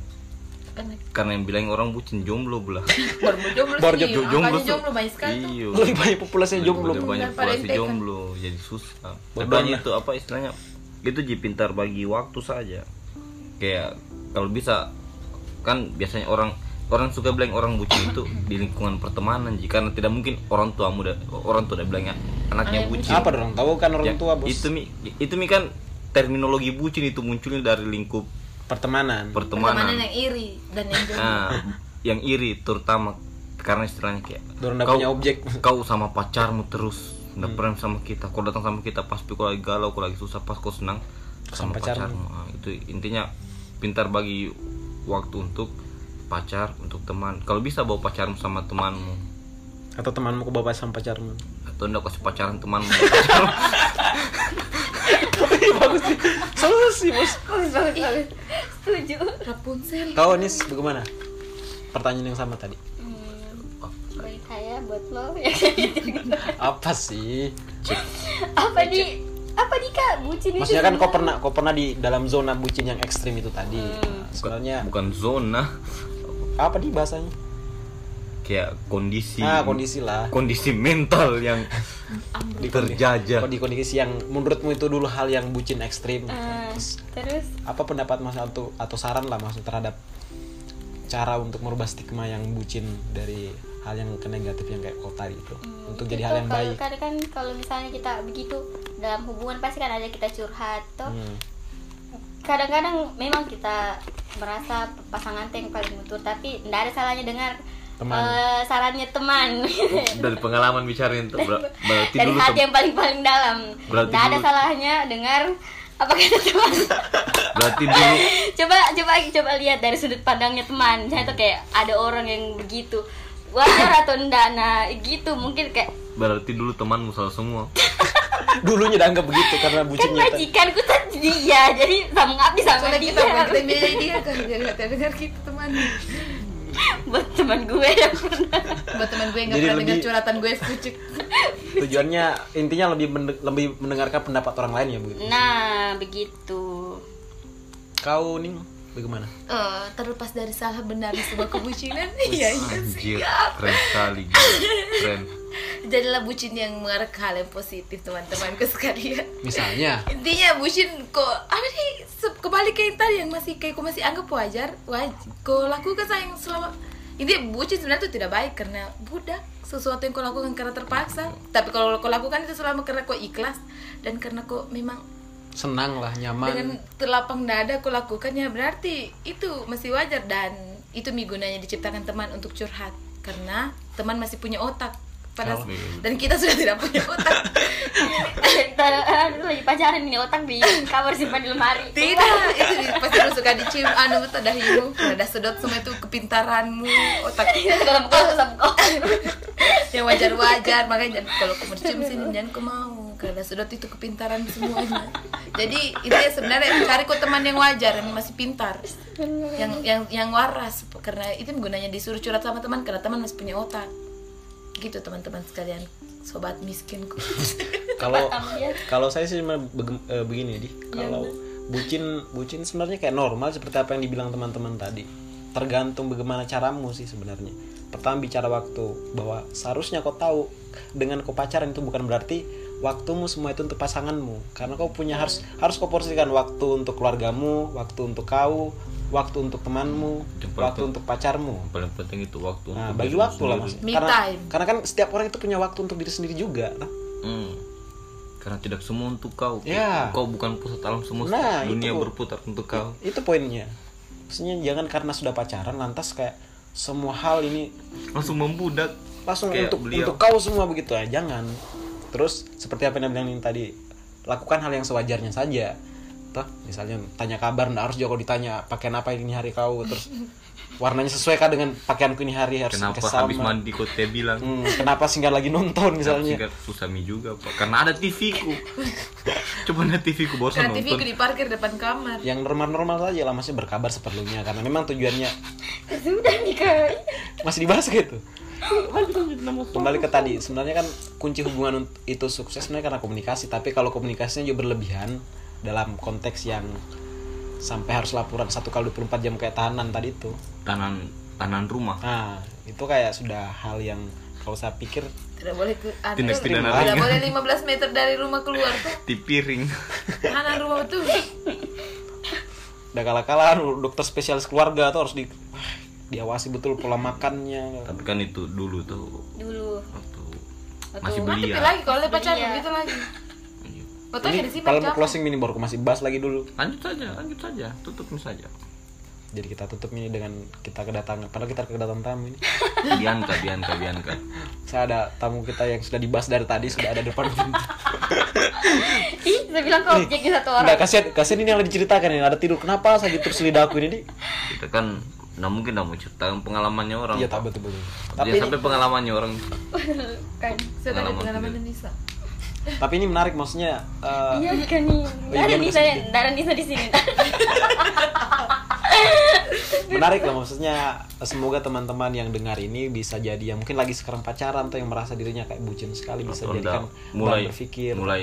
Speaker 5: Karena
Speaker 2: karena yang bilang orang bucin jomblo belah
Speaker 5: baru mau jomblo
Speaker 1: Baru
Speaker 5: sih.
Speaker 1: jomblo-
Speaker 5: Angkanya
Speaker 2: tuh-
Speaker 5: Iya, jomblo banyak sekali tuh.
Speaker 2: Iya.
Speaker 1: Lebih banyak populasi yang
Speaker 2: Lebih
Speaker 1: jomblo.
Speaker 2: banyak
Speaker 5: Daripada
Speaker 2: populasi
Speaker 5: yang tekan.
Speaker 2: jomblo jadi susah
Speaker 1: Bodoh
Speaker 2: makanya
Speaker 1: lah.
Speaker 2: itu apa istilahnya itu jadi pintar bagi waktu saja kayak kalau bisa kan biasanya orang orang suka bilang orang bucin itu di lingkungan pertemanan jika karena tidak mungkin orang tua muda orang tua udah bilangnya anaknya bucin
Speaker 1: Apa orang tahu kan orang
Speaker 2: Ya,
Speaker 1: tua bos
Speaker 2: itu mi itu mi kan terminologi bucin itu munculnya dari lingkup
Speaker 1: Hmm. pertemanan.
Speaker 5: Pertemanan
Speaker 2: pertemanan
Speaker 5: yang iri dan yang jomblo.
Speaker 2: Nah, yang iri terutama karena istilahnya kayak
Speaker 1: Dorong nggak punya objek. Hmm.
Speaker 2: kau sama pacarmu terus nggak pernah sama kita kau datang sama kita pas kau lagi galau kau lagi susah pas kau senang
Speaker 1: Sama
Speaker 2: sama,
Speaker 1: pacarmu.
Speaker 2: pacarmu, Ah, itu intinya pintar bagi waktu untuk pacar untuk teman kalau bisa bawa pacarmu sama temanmu
Speaker 1: Atau temanmu ke bapak sama pacarmu.
Speaker 2: atau enggak kasih pacaran temanmu
Speaker 1: Bagus sih. Salah sih bos.
Speaker 4: Bagus, bagus, bagus. Setuju.
Speaker 5: Rapunzel.
Speaker 1: Kau nih bagaimana? Pertanyaan yang sama tadi.
Speaker 4: Baik saya buat lo. ya.
Speaker 1: Apa sih?
Speaker 4: apa di apa di kak bucin itu?
Speaker 1: Maksudnya kan kau pernah kau pernah di dalam zona bucin yang ekstrim itu tadi.
Speaker 4: Hmm.
Speaker 1: Nah, sebenarnya
Speaker 2: bukan zona
Speaker 1: apa di bahasanya?
Speaker 2: kayak kondisi
Speaker 1: Ah kondisi lah.
Speaker 2: kondisi mental yang
Speaker 1: di
Speaker 2: Terjajah.
Speaker 1: di kondisi yang menurutmu itu dulu hal yang bucin ekstrim
Speaker 4: Ah,
Speaker 1: Terus,
Speaker 4: terus
Speaker 1: apa pendapat mas atau atau saran lah maksud terhadap cara untuk merubah stigma yang bucin dari hal yang ke negatif yang kayak kota itu
Speaker 4: Hmm,
Speaker 1: untuk
Speaker 4: itu
Speaker 1: jadi hal yang
Speaker 4: kalau-
Speaker 1: baik
Speaker 4: Kan, kan kalau misalnya kita begitu dalam hubungan pasti kan ada kita curhat toh.
Speaker 1: Hmm.
Speaker 4: Kadang-kadang memang kita merasa pasangan tuh yang paling mutur tapi tidak ada salahnya dengar
Speaker 1: Teman. Oh,
Speaker 4: eh, sarannya teman.
Speaker 2: dari pengalaman bicarain tuh ber- berarti
Speaker 4: Dari
Speaker 2: dulu
Speaker 4: hati
Speaker 2: tem-
Speaker 4: yang paling-paling dalam.
Speaker 2: Berarti
Speaker 4: Tidak ada
Speaker 2: dulu-
Speaker 4: salahnya dengar apa kata teman.
Speaker 2: berarti dulu
Speaker 4: coba coba coba lihat dari sudut pandangnya teman. Saya tuh kayak ada orang yang begitu. Wajar atau enggak nah gitu mungkin kayak
Speaker 2: berarti dulu temanmu salah semua
Speaker 1: dulunya dianggap begitu karena
Speaker 4: kan
Speaker 1: bucinnya tadi.
Speaker 4: majikanku tuh dia jadi sama ngabdi sama
Speaker 5: Soalnya
Speaker 4: dia
Speaker 5: kita bukan kita milih dia kan jadi hati dengar kita teman.
Speaker 4: buat teman gue yang pernah
Speaker 5: Buat teman gue yang nggak
Speaker 1: Jadi
Speaker 5: pernah dengar
Speaker 1: lebih-
Speaker 5: curhatan gue sepucuk.
Speaker 1: tujuannya intinya lebih mende- lebih mendengarkan pendapat orang lain ya bu
Speaker 4: nah begitu
Speaker 1: kau nih bagaimana?
Speaker 5: Eh, terlepas dari salah benar di sebuah kebucinan iya iya
Speaker 2: Anjir, keren sekali gila. Keren.
Speaker 5: jadilah bucin yang mengarah ke hal yang positif teman-temanku sekalian
Speaker 1: Misalnya,
Speaker 5: intinya bucin kok ada sih se- kebalik kayak tadi yang masih kayak kok masih anggap wajar wajib kau lakukan sayang selama ini bucin sebenarnya itu tidak baik karena budak sesuatu yang kau lakukan karena terpaksa tapi kalau kau lakukan itu selama karena kau ikhlas dan karena kau memang
Speaker 1: senang lah,
Speaker 5: dengan
Speaker 1: nyaman.
Speaker 5: telapang dada kau lakukan ya berarti itu masih wajar dan itu mi gunanya diciptakan teman untuk curhat karena teman masih punya otak pada
Speaker 1: Kalau-
Speaker 5: dan kita sudah tidak punya otak
Speaker 4: Ntar lu lagi pacaran nih otak di kamar simpan di lemari.
Speaker 5: Tidak, itu di- pasti lu suka dicium anu tuh dahimu Udah sedot semua itu kepintaranmu Otak
Speaker 4: Dalam kau Iya, sama kau.
Speaker 5: yang wajar-wajar Makanya jangan, kalau kamu dicium sini jangan kau mau Karena sedot itu kepintaran semuanya Jadi itu ya sebenarnya cari kok teman yang wajar Yang masih pintar Yang yang yang waras Karena itu gunanya disuruh curhat sama teman Karena teman masih punya otak Gitu teman-teman sekalian Sobat miskinku
Speaker 1: Kalau
Speaker 4: Pertama dia.
Speaker 1: kalau saya sih sebenarnya bege- eh, begini di, kalau bucin bucin sebenarnya kayak normal seperti apa yang dibilang teman-teman tadi. Tergantung bagaimana caramu sih sebenarnya. Pertama bicara waktu bahwa seharusnya kau tahu dengan kau pacaran itu bukan berarti waktumu semua itu untuk pasanganmu karena kau punya harus harus kau porsikan waktu untuk keluargamu, waktu untuk kau, waktu untuk temanmu,
Speaker 2: Jempol
Speaker 1: waktu
Speaker 2: tuh.
Speaker 1: untuk pacarmu.
Speaker 2: Yang paling penting itu waktu
Speaker 1: Nah,
Speaker 2: untuk
Speaker 1: bagi
Speaker 2: dirimu
Speaker 1: waktu lah
Speaker 2: Ah, sendiri.
Speaker 1: mas.
Speaker 5: Me
Speaker 1: Karena,
Speaker 5: time.
Speaker 1: karena kan setiap orang itu punya waktu untuk diri sendiri juga. Nah,
Speaker 2: Hmm. Karena tidak semua untuk kau.
Speaker 1: Ya.
Speaker 2: Kau bukan pusat alam semesta.
Speaker 1: Nah, itu
Speaker 2: Dunia
Speaker 1: kok.
Speaker 2: berputar untuk kau.
Speaker 1: itu poinnya. Maksudnya jangan karena sudah pacaran lantas kayak semua hal ini
Speaker 2: Langsung membudak.
Speaker 1: langsung
Speaker 2: Kayak
Speaker 1: untuk
Speaker 2: beliau.
Speaker 1: untuk kau semua begitu ah jangan. Terus seperti apa yang bilang tadi lakukan hal yang sewajarnya saja. Toh, misalnya tanya kabar nggak harus juga kau ditanya pakaian apa ini hari kau terus warnanya sesuai kah dengan pakaianku ini hari harus
Speaker 2: Kenapa
Speaker 1: sama.
Speaker 2: habis mandi kau teh bilang?
Speaker 1: Hmm, kenapa singgah lagi nonton misalnya
Speaker 2: Singkat susami juga pak. Karena ada TV ku. Coba ada TV ku bosan
Speaker 5: Karena TV ku
Speaker 2: nonton.
Speaker 5: diparkir depan kamar
Speaker 1: yang normal-normal saja lah masih berkabar seperlunya karena memang tujuannya
Speaker 4: Sudah nih kak.
Speaker 1: masih dibahas gitu kembali ke tadi sebenarnya kan kunci hubungan unt- itu sukses sebenarnya karena komunikasi tapi kalau komunikasinya juga berlebihan dalam konteks yang sampai harus laporan satu kali 24 jam kayak tahanan tadi itu
Speaker 2: Tanan tanan rumah.
Speaker 1: nah itu kayak sudah hal yang kalau saya pikir
Speaker 5: Tidak boleh ke anu,
Speaker 2: Tindak pidana ringan.
Speaker 5: Tidak boleh 15 meter dari rumah keluar tuh
Speaker 2: Di piring.
Speaker 5: Mana rumah tuh
Speaker 1: udah kalah-kalah dokter spesialis keluarga tuh harus di diawasi betul pola makannya
Speaker 2: Tapi kan itu dulu tuh
Speaker 4: Dulu.
Speaker 2: waktu
Speaker 4: Waktu
Speaker 2: masih
Speaker 5: Mati
Speaker 2: belia.
Speaker 5: lagi kalau dia pacaran
Speaker 4: Belia.
Speaker 5: gitu lagi
Speaker 2: Iya.
Speaker 5: Fotonya
Speaker 1: ini
Speaker 5: ada simpan
Speaker 1: kalau mau closing mini baru aku masih bahas lagi dulu
Speaker 2: Lanjut saja, lanjut saja, tutupin saja.
Speaker 1: jadi kita tutup ini dengan kita kedatangan padahal kita kedatangan tamu ini
Speaker 2: Bianca, Bianca, Bianca.
Speaker 1: saya ada tamu kita yang sudah dibahas dari tadi sudah ada depan pintu
Speaker 4: Ih, saya bilang kau objeknya satu orang.
Speaker 1: Enggak, kasihan, kasihan ini yang diceritakan ini ada tidur kenapa sakit terus lidah aku ini Di?
Speaker 2: Kita kan nggak mungkin nggak mau cerita pengalamannya orang.
Speaker 1: iya
Speaker 2: Pak.
Speaker 1: tak betul betul tapi
Speaker 2: Tapi
Speaker 1: ini,
Speaker 2: sampai pengalamannya orang.
Speaker 4: Kan.
Speaker 5: Sudah ada
Speaker 2: Pengalaman
Speaker 5: pengalaman
Speaker 2: sendiri.
Speaker 5: Nisa
Speaker 1: tapi ini menarik maksudnya eh,
Speaker 4: Iya kan nih. Nggak ada
Speaker 1: iya,
Speaker 4: Nisa,
Speaker 1: iya.
Speaker 4: nggak ada Nisa di sini.
Speaker 1: menarik lah maksudnya eh, semoga teman-teman yang dengar ini bisa jadi yang mungkin lagi sekarang pacaran atau yang merasa dirinya kayak bucin sekali bisa
Speaker 2: Atau nggak,
Speaker 1: jadikan bahan
Speaker 2: mulai
Speaker 1: berpikir Ya.
Speaker 2: mulai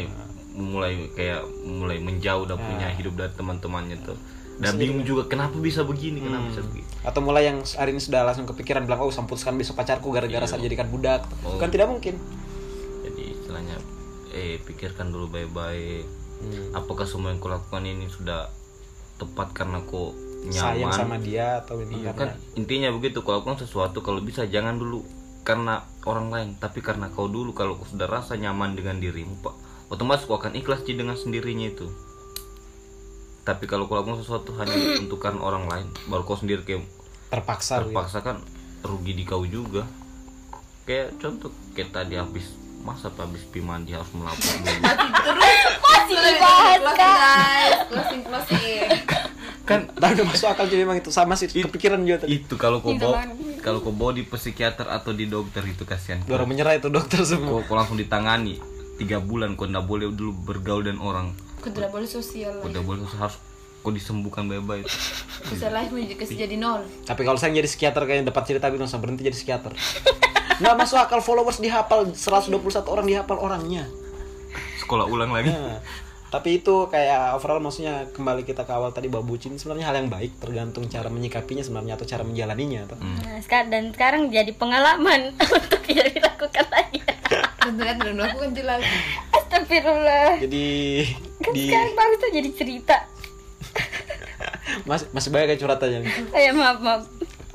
Speaker 2: mulai kayak mulai menjauh dan punya hidup dari teman-temannya tuh. Dan bingung juga kenapa bisa begini, kenapa
Speaker 1: Hmm.
Speaker 2: bisa begini.
Speaker 1: atau mulai yang hari ini sudah langsung kepikiran bilang oh saya putuskan besok pacarku gara-gara saya jadikan budak
Speaker 2: Iya. Oh.
Speaker 1: kan tidak mungkin
Speaker 2: Jadi istilahnya eh pikirkan dulu baik-baik.
Speaker 1: Hmm.
Speaker 2: Apakah semua yang kulakukan ini sudah tepat karena kok
Speaker 1: sayang
Speaker 2: nyaman?
Speaker 1: sama dia atau ini
Speaker 2: Iya
Speaker 1: karena
Speaker 2: kan intinya begitu kalau lakukan sesuatu kalau bisa jangan dulu karena orang lain tapi karena kau dulu kalau kau sudah rasa nyaman dengan dirimu pak otomatis kau akan ikhlas Ci, dengan sendirinya itu tapi kalau kau lakukan sesuatu hanya untuk karena orang lain baru kau sendiri kayak
Speaker 1: terpaksa, gitu.
Speaker 2: terpaksa kan rugi di kau juga kayak contoh kayak tadi habis masa Pak, habis pi mandi harus melapor dulu
Speaker 4: Masih dibahas kak.
Speaker 5: Closing closing
Speaker 2: kan
Speaker 1: tapi udah masuk akal jadi memang itu sama sih kepikiran juga tadi
Speaker 2: itu kalau kau
Speaker 4: Itu
Speaker 2: bawa
Speaker 4: kan.
Speaker 2: kalau kau bawa di psikiater atau di dokter itu kasihan
Speaker 1: baru menyerah itu dokter semua
Speaker 2: kok kok langsung ditangani tiga bulan kok nggak boleh dulu bergaul dan orang
Speaker 5: Aku tidak boleh sosial
Speaker 2: kok
Speaker 5: lah
Speaker 2: nggak boleh harus kok disembuhkan baik-baik
Speaker 5: Sosial life mau dikasih jadi nol
Speaker 1: Tapi kalau saya jadi psikiater kayaknya dapat cerita gitu saya berhenti jadi psikiater. Nggak masuk akal followers dihafal 121 orang dihafal orangnya.
Speaker 2: sekolah ulang lagi
Speaker 1: Nah, tapi itu kayak overall maksudnya kembali kita ke awal tadi bahwa bucin sebenarnya hal yang baik tergantung cara menyikapinya sebenarnya atau cara menjalaninya atau
Speaker 4: Nah, sekarang dan sekarang jadi pengalaman untuk tidak dilakukan lagi.
Speaker 5: Tentunya tidak melakukan itu lagi.
Speaker 4: Astagfirullah.
Speaker 1: jadi
Speaker 4: Kan
Speaker 1: di
Speaker 4: sekarang baru tuh jadi cerita.
Speaker 1: mas masih banyak curhat aja nih.
Speaker 4: Saya maaf maaf.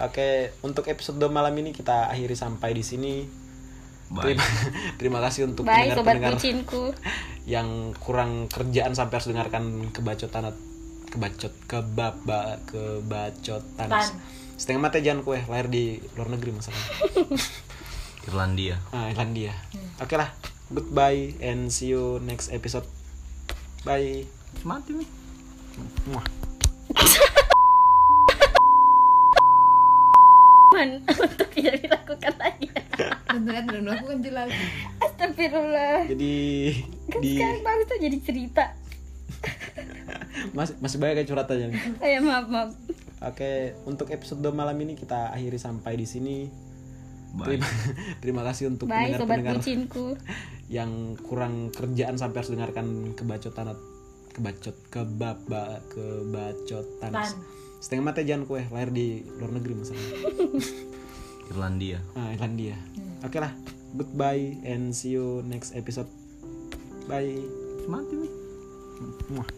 Speaker 1: Oke, untuk episode malam ini kita akhiri sampai di sini.
Speaker 2: Bye.
Speaker 1: Terima, terima kasih untuk
Speaker 4: Bye sobat
Speaker 1: pendengar-pendengar
Speaker 4: bucinku.
Speaker 1: yang kurang kerjaan sampai harus dengarkan kebacotan at- kebacot kebaba kebacotan.
Speaker 5: Tan.
Speaker 1: Setengah mata jangan kue, lahir di luar negeri masalahnya.
Speaker 2: Irlandia
Speaker 1: Ah, Irlandia.
Speaker 4: Hmm.
Speaker 1: Oke lah. Goodbye and see you next episode. Bye.
Speaker 2: mati nih
Speaker 1: Muah.
Speaker 4: Man, untuk tidak dilakukan lagi.
Speaker 5: Tentunya tidak melakukan itu lagi.
Speaker 4: Astagfirullah.
Speaker 1: Jadi
Speaker 4: Kan
Speaker 1: di
Speaker 4: sekarang baru tuh jadi cerita.
Speaker 1: masih masih banyak curhat aja nih.
Speaker 4: Saya maaf maaf.
Speaker 1: Oke, untuk episode malam ini kita akhiri sampai di sini.
Speaker 2: bye
Speaker 1: Terima, terima kasih untuk
Speaker 4: Bye sobat
Speaker 1: pendengar-pendengar
Speaker 4: bucinku.
Speaker 1: yang kurang kerjaan sampai harus dengarkan kebacotan at- kebacot kebaba kebacotan.
Speaker 5: Tan.
Speaker 1: Setengah mata jangan kue, lahir di luar negeri masalahnya.
Speaker 2: Irlandia
Speaker 1: Ah, Irlandia. Oke lah. Goodbye and see you next episode. Bye.
Speaker 2: mati nih
Speaker 1: Muah.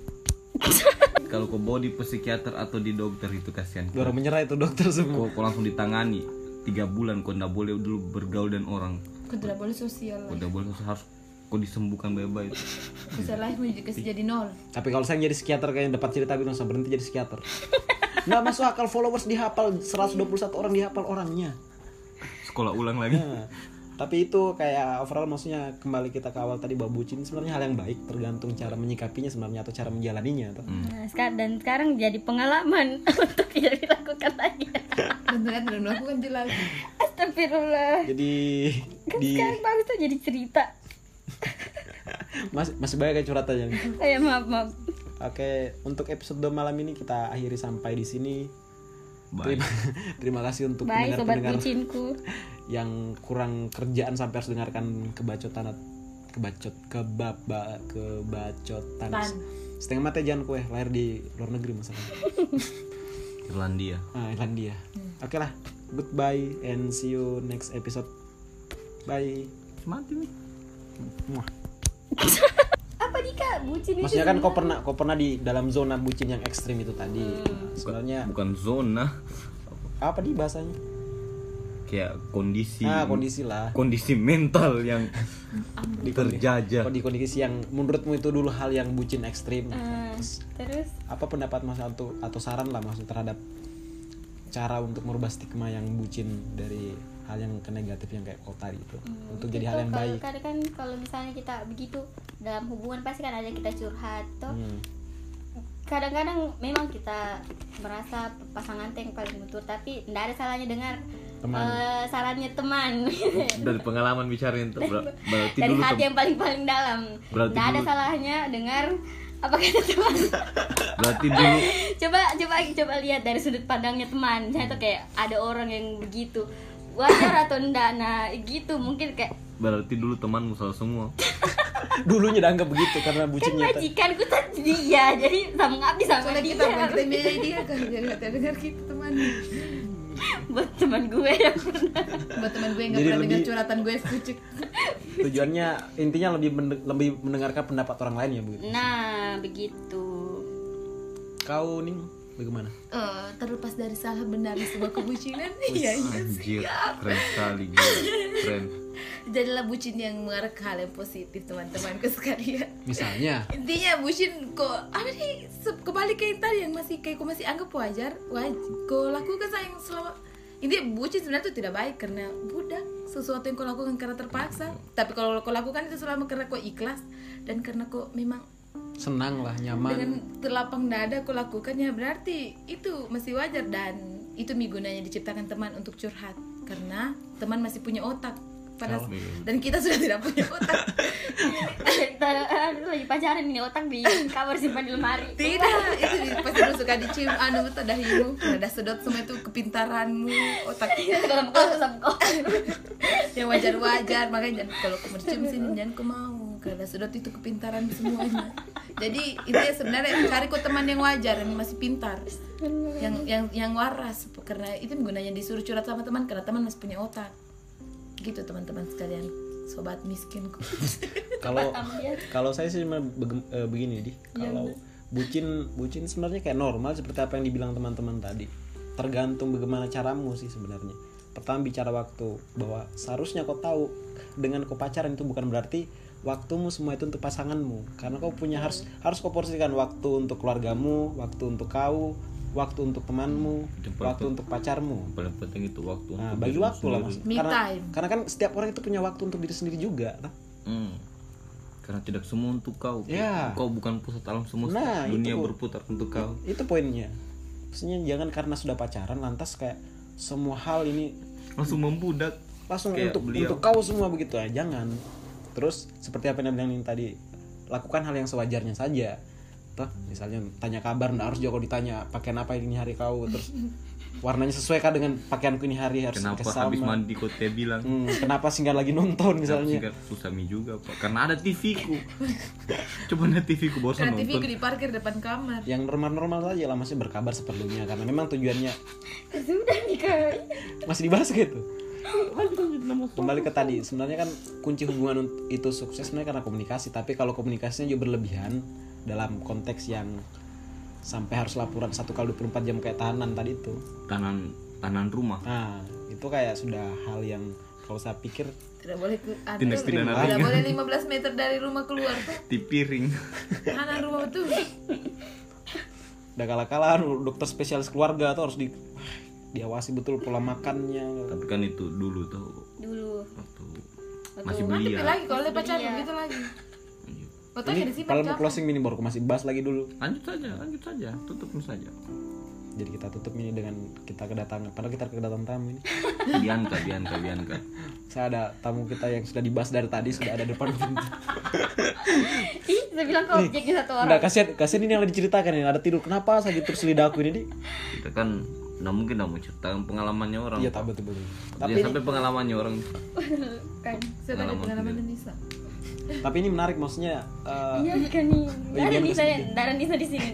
Speaker 2: kalau kau bawa di psikiater atau di dokter itu kasihan
Speaker 1: Lu Orang menyerah itu dokter semua.
Speaker 2: kau, kau langsung ditangani tiga bulan kau ndak boleh dulu bergaul dan orang
Speaker 5: Kau tidak boleh sosial
Speaker 2: kau
Speaker 5: lah.
Speaker 2: ndak boleh harus kau disembuhkan baik-baik
Speaker 5: Sosial life mau dikasih jadi nol.
Speaker 1: Tapi kalau saya jadi psikiater kayaknya dapat cerita bilang saya berhenti jadi psikiater. Nggak masuk akal followers dihafal 121 orang dihafal orangnya.
Speaker 2: sekolah ulang lagi
Speaker 1: Nah, tapi itu kayak overall maksudnya kembali kita ke awal tadi bahwa bucin sebenarnya hal yang baik tergantung cara menyikapinya sebenarnya atau cara menjalaninya atau
Speaker 4: Nah, sekarang dan sekarang jadi pengalaman untuk tidak dilakukan lagi.
Speaker 5: Tentunya tidak melakukan itu lagi.
Speaker 4: Astagfirullah.
Speaker 1: jadi
Speaker 4: Kan
Speaker 1: di
Speaker 4: sekarang baru tuh jadi cerita.
Speaker 1: masih masih banyak yang curhat aja nih.
Speaker 4: Saya maaf maaf.
Speaker 1: Oke, untuk episode malam ini kita akhiri sampai di sini.
Speaker 2: bye
Speaker 1: Terima, terima kasih untuk
Speaker 4: Bye sobat
Speaker 1: pendengar-pendengar
Speaker 4: bucinku.
Speaker 1: yang kurang kerjaan sampai harus dengarkan kebacotan at- kebacot kebaba kebacotan.
Speaker 5: Tan.
Speaker 1: Setengah mata jangan kue, lahir di luar negeri masalahnya.
Speaker 2: Irlandia
Speaker 1: Ah, Irlandia.
Speaker 4: Hmm.
Speaker 1: Oke lah. Goodbye and see you next episode. Bye.
Speaker 2: mati nih
Speaker 1: Muah.
Speaker 4: Apa nih Kak? Bucin itu.
Speaker 1: Maksudnya kan kau pernah kau pernah di dalam zona bucin yang ekstrim itu tadi.
Speaker 4: Hmm.
Speaker 1: Nah, sebenarnya
Speaker 2: bukan zona
Speaker 1: apa di bahasanya?
Speaker 2: kayak kondisi
Speaker 1: Ah, kondisi lah.
Speaker 2: kondisi mental yang
Speaker 1: Di kondi-
Speaker 2: terjajah
Speaker 1: di kondisi yang menurutmu itu dulu hal yang bucin ekstrim.
Speaker 4: Eh, terus
Speaker 1: Apa pendapat Mas atau atau saran lah maksud terhadap cara untuk merubah stigma yang bucin dari hal yang ke negatif yang kayak kau tadi itu untuk jadi hal yang
Speaker 4: Hmm, kalau-
Speaker 1: baik.
Speaker 4: Kan, kan kalau misalnya kita begitu dalam hubungan pasti kan ada yang kita curhat toh.
Speaker 1: Hmm.
Speaker 4: Kadang-kadang memang kita merasa pasangan teh yang paling betul tapi tidak ada salahnya dengar
Speaker 1: Teman.
Speaker 4: eh, sarannya teman.
Speaker 2: dari pengalaman bicaranya itu ber- berarti
Speaker 4: Dari
Speaker 2: dulu
Speaker 4: hati
Speaker 2: tem-
Speaker 4: yang paling-paling dalam.
Speaker 2: Berarti
Speaker 4: Tidak ada
Speaker 2: dulu-
Speaker 4: salahnya dengar apa kata teman.
Speaker 2: berarti dulu
Speaker 4: coba coba coba lihat dari sudut pandangnya teman. Saya tuh kayak ada orang yang begitu. Wajar atau enggak nah gitu mungkin kayak
Speaker 2: berarti dulu temanmu salah semua
Speaker 1: Dulunya dianggap begitu karena
Speaker 4: kan
Speaker 1: bucinnya. tadi.
Speaker 4: majikan gue tuh dia jadi sama ngabdi sama
Speaker 5: Soalnya
Speaker 4: dia
Speaker 5: kita bukan kita milih dia kan jadi hati dengar kita teman.
Speaker 4: buat teman gue yang
Speaker 5: Buat teman gue yang nggak
Speaker 1: Jadi
Speaker 5: pernah dengar
Speaker 1: lebih-
Speaker 5: curhatan gue sepucuk.
Speaker 1: tujuannya intinya lebih mende- lebih mendengarkan pendapat orang lain ya bu
Speaker 4: nah begitu
Speaker 1: kau nih bagaimana
Speaker 5: Eh, terlepas dari salah benar di sebuah kebucinan, iya iya.
Speaker 2: anjir keren sekali gila keren
Speaker 5: Jadilah bucin yang mengarah ke hal yang positif teman-temanku sekalian.
Speaker 1: misalnya
Speaker 5: intinya bucin kok ada nih se- kebalik kayak tadi yang masih kayak kok masih anggap wajar wajar kok lakukan sayang selama ini bucin sebenarnya itu tidak baik karena budak sesuatu yang kau lakukan karena terpaksa tapi kalau kau lakukan itu selama karena kau ikhlas dan karena kau memang
Speaker 1: senang lah
Speaker 5: dengan
Speaker 1: nyaman
Speaker 5: terlapang dada kau lakukan ya berarti itu masih wajar dan itu mi gunanya diciptakan teman untuk curhat karena teman masih punya otak pada
Speaker 1: Oh,
Speaker 5: dan kita sudah tidak punya otak
Speaker 4: kita aduh, lagi pacaran ini otak di kamar simpan di lemari
Speaker 5: Tidak, itu di- pasti lu suka dicium anu tuh dahimu Udah sedot semua itu kepintaranmu, otak
Speaker 4: dalam kau sama kau
Speaker 5: Yang wajar-wajar, makanya jangan kalau kamu dicium sini jangan kau mau karena sedot itu kepintaran semuanya jadi itu ya sebenarnya cari kok teman yang wajar yang masih pintar yang yang yang waras karena itu gunanya disuruh curhat sama teman karena teman masih punya otak gitu teman-teman sekalian sobat miskinku
Speaker 1: kalau kalau saya sih cuma bege- eh, begini di
Speaker 5: Iya,
Speaker 1: kalau bucin bucin sebenarnya kayak normal seperti apa yang dibilang teman-teman tadi tergantung bagaimana caramu sih sebenarnya pertama bicara waktu bahwa seharusnya kau tahu dengan kau pacaran itu bukan berarti waktumu semua itu untuk pasanganmu karena kau punya harus harus kau porsikan waktu untuk keluargamu waktu untuk kau waktu untuk temanmu waktu untuk pacarmu
Speaker 2: paling penting itu waktu
Speaker 1: Nah,
Speaker 2: untuk
Speaker 1: bagi
Speaker 2: dirimu
Speaker 1: waktu lah
Speaker 2: sendiri.
Speaker 1: mas.
Speaker 5: Me
Speaker 1: Karena,
Speaker 5: time.
Speaker 1: karena kan setiap orang itu punya waktu untuk diri sendiri juga. Nah,
Speaker 2: Hmm. karena tidak semua untuk kau Ki.
Speaker 1: Ya.
Speaker 2: kau bukan pusat alam semesta
Speaker 1: Nah,
Speaker 2: dunia
Speaker 1: itu.
Speaker 2: berputar untuk kau
Speaker 1: itu poinnya. Maksudnya jangan karena sudah pacaran lantas kayak semua hal ini
Speaker 2: langsung membudak
Speaker 1: langsung
Speaker 2: Kayak
Speaker 1: untuk
Speaker 2: beliau.
Speaker 1: untuk kau semua begitu ya. Jangan. Terus seperti apa yang bilang tadi, lakukan hal yang sewajarnya saja. Tuh, misalnya tanya kabar, nggak harus jauh ditanya pakaian apa ini hari kau, terus warnanya sesuai kah dengan pakaianku ini hari harus
Speaker 2: kenapa
Speaker 1: sama.
Speaker 2: habis mandi kau teh bilang
Speaker 1: Hmm, kenapa singgah lagi nonton misalnya?
Speaker 2: Misalnya susami juga pak karena ada TV ku coba ada TV ku bosan
Speaker 5: karena TV
Speaker 2: nonton
Speaker 5: ku diparkir depan kamar
Speaker 1: yang normal-normal saja lah masih berkabar seperlunya karena memang tujuannya
Speaker 4: Sudah nih kak.
Speaker 1: masih dibahas gitu kembali ke tadi sebenarnya kan kunci hubungan unt- itu sukses sebenarnya karena komunikasi tapi kalau komunikasinya juga berlebihan dalam konteks yang sampai harus laporan satu kali 24 jam kayak tahanan tadi itu
Speaker 2: tanan tanan rumah
Speaker 1: nah itu kayak sudah hal yang kalau saya pikir
Speaker 5: tidak boleh ke ada-
Speaker 2: Tindak pidana
Speaker 5: tidak
Speaker 2: ringan.
Speaker 5: boleh 15 meter dari rumah keluar
Speaker 2: di piring
Speaker 5: mana rumah itu
Speaker 1: udah kalah-kalah dokter spesialis keluarga tuh harus di diawasi betul pola makannya
Speaker 2: tapi kan itu dulu tau
Speaker 4: Dulu.
Speaker 2: waktu masih
Speaker 5: tapi
Speaker 2: belia
Speaker 5: lagi kalau dia pacaran begitu lagi fotonya
Speaker 1: Iya. ini
Speaker 5: disimpan
Speaker 1: kalau mau closing mini baru aku masih bahas lagi dulu
Speaker 2: lanjut saja lanjut saja tutup ini saja
Speaker 1: jadi kita tutup ini dengan kita kedatangan padahal kita kedatangan tamu ini
Speaker 2: Bianca Bianca Bianca
Speaker 1: saya ada tamu kita yang sudah dibahas dari tadi sudah ada depan pintu
Speaker 4: Ih, saya bilang kau objeknya satu orang.
Speaker 1: nggak kasihan kasihan ini yang diceritakan ini ada tidur kenapa saya terus lidah aku ini Di?
Speaker 2: kita kan nggak mungkin nggak mau cerita pengalamannya orang
Speaker 1: iya tak betul betul tapi
Speaker 2: Dia sampai pengalamannya orang
Speaker 4: Kan.
Speaker 5: saya ada pengalaman Nisa
Speaker 1: tapi ini menarik maksudnya eh,
Speaker 4: Iya kan nih. Nggak ada
Speaker 1: gimana
Speaker 4: Nisa, nggak ada Nisa di sini.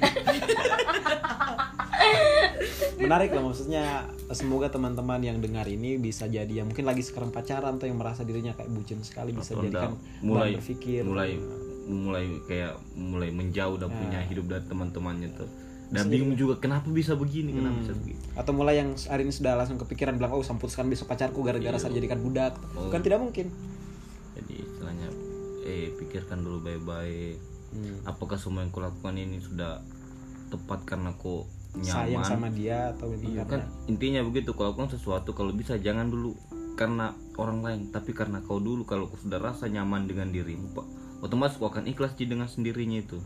Speaker 1: menarik lah maksudnya eh, semoga teman-teman yang dengar ini bisa jadi yang mungkin lagi sekarang pacaran atau yang merasa dirinya kayak bucin sekali bisa
Speaker 2: Atau nggak,
Speaker 1: jadikan
Speaker 2: mulai
Speaker 1: bahan berpikir
Speaker 2: mulai mulai kayak mulai menjauh dan
Speaker 1: Nah.
Speaker 2: punya hidup dari teman-temannya tuh dan bingung juga kenapa bisa begini kenapa
Speaker 1: Hmm.
Speaker 2: bisa begini
Speaker 1: atau mulai yang hari ini sudah langsung kepikiran bilang oh samputkan besok pacarku gara-gara
Speaker 2: Iya.
Speaker 1: saya jadikan budak
Speaker 2: Oh.
Speaker 1: kan tidak mungkin
Speaker 2: jadi istilahnya eh pikirkan dulu baik-baik
Speaker 1: Hmm.
Speaker 2: apakah semua yang kulakukan ini sudah tepat karena kok
Speaker 1: sayang
Speaker 2: nyaman
Speaker 1: sama dia atau memang
Speaker 2: Iya
Speaker 1: karena-
Speaker 2: kan intinya begitu kalau kau sesuatu kalau bisa jangan dulu karena orang lain tapi karena kau dulu kalau kau sudah rasa nyaman dengan dirimu pak otomatis kau akan ikhlas di dengan sendirinya itu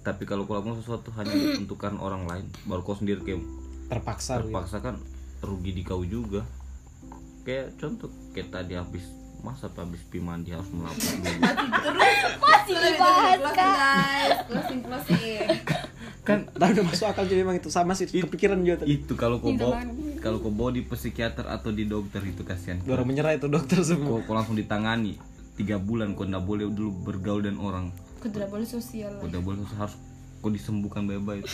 Speaker 2: tapi kalau kau lakukan sesuatu hanya untuk karena orang lain baru kau sendiri kayak
Speaker 1: terpaksa gitu.
Speaker 2: terpaksa kan rugi di kau juga kayak contoh kayak tadi habis masa tuh habis pi mandi harus melapor dulu
Speaker 5: masih dibahas guys closing closing
Speaker 2: kan
Speaker 1: Tapi udah masuk akal jadi memang itu sama sih kepikiran juga tadi.
Speaker 2: itu kalau kau bawa kalau kau bawa di psikiater atau di dokter itu kasihan
Speaker 1: Baru menyerah itu dokter semua.
Speaker 2: kok kok langsung ditangani tiga bulan kok nggak boleh dulu bergaul dan orang
Speaker 5: aku tidak boleh sosial
Speaker 2: kok nggak boleh harus kok disembuhkan baik-baik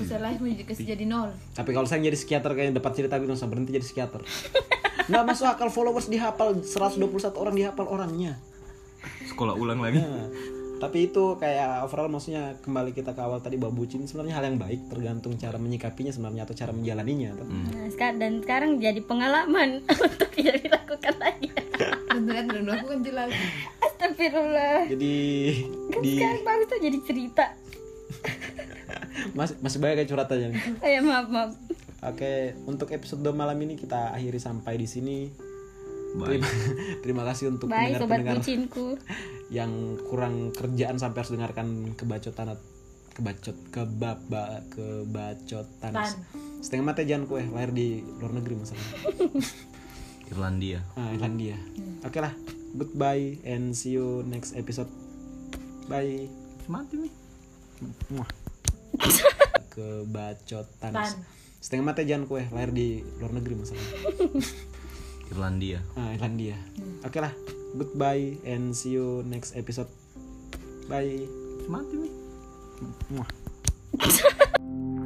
Speaker 5: sosial life mau dikasih
Speaker 1: Iya.
Speaker 5: jadi nol
Speaker 1: Tapi kalau saya jadi psikiater kayaknya dapat cerita gitu langsung berhenti jadi psikiater. Nggak masuk akal followers dihafal 121 orang dihafal orangnya.
Speaker 2: sekolah ulang lagi
Speaker 1: Nah, tapi itu kayak overall maksudnya kembali kita ke awal tadi bahwa bucin sebenarnya hal yang baik tergantung cara menyikapinya sebenarnya atau cara menjalaninya. atau-
Speaker 4: Nah, sekarang dan sekarang jadi pengalaman untuk tidak dilakukan lagi.
Speaker 5: dan ternyata udah melakukan kan jelas
Speaker 4: Astagfirullah.
Speaker 1: Jadi di
Speaker 4: Sekarang bagus tuh jadi cerita.
Speaker 1: masih masih banyak kayak curhatannya.
Speaker 4: Saya Eh, maaf maaf.
Speaker 1: Oke, untuk episode malam ini kita akhiri sampai di sini.
Speaker 2: baik
Speaker 1: Terima, terima kasih untuk
Speaker 4: Bye sobat
Speaker 1: pendengar-pendengar
Speaker 4: bucinku.
Speaker 1: yang kurang kerjaan sampai harus dengarkan kebacotan kebacot kebaba kebacotan
Speaker 5: Tan.
Speaker 1: setengah mata jangan kue lahir di luar negeri masalahnya
Speaker 2: Irlandia
Speaker 1: ah, Irlandia oke lah goodbye and see you next episode bye
Speaker 2: mati nih
Speaker 1: Muah. kebacotan
Speaker 5: Tan.
Speaker 1: setengah mata jangan kue lahir di luar negeri masalahnya
Speaker 2: Irlandia
Speaker 1: ah, Irlandia oke lah goodbye and see you next episode bye mati nih Muah.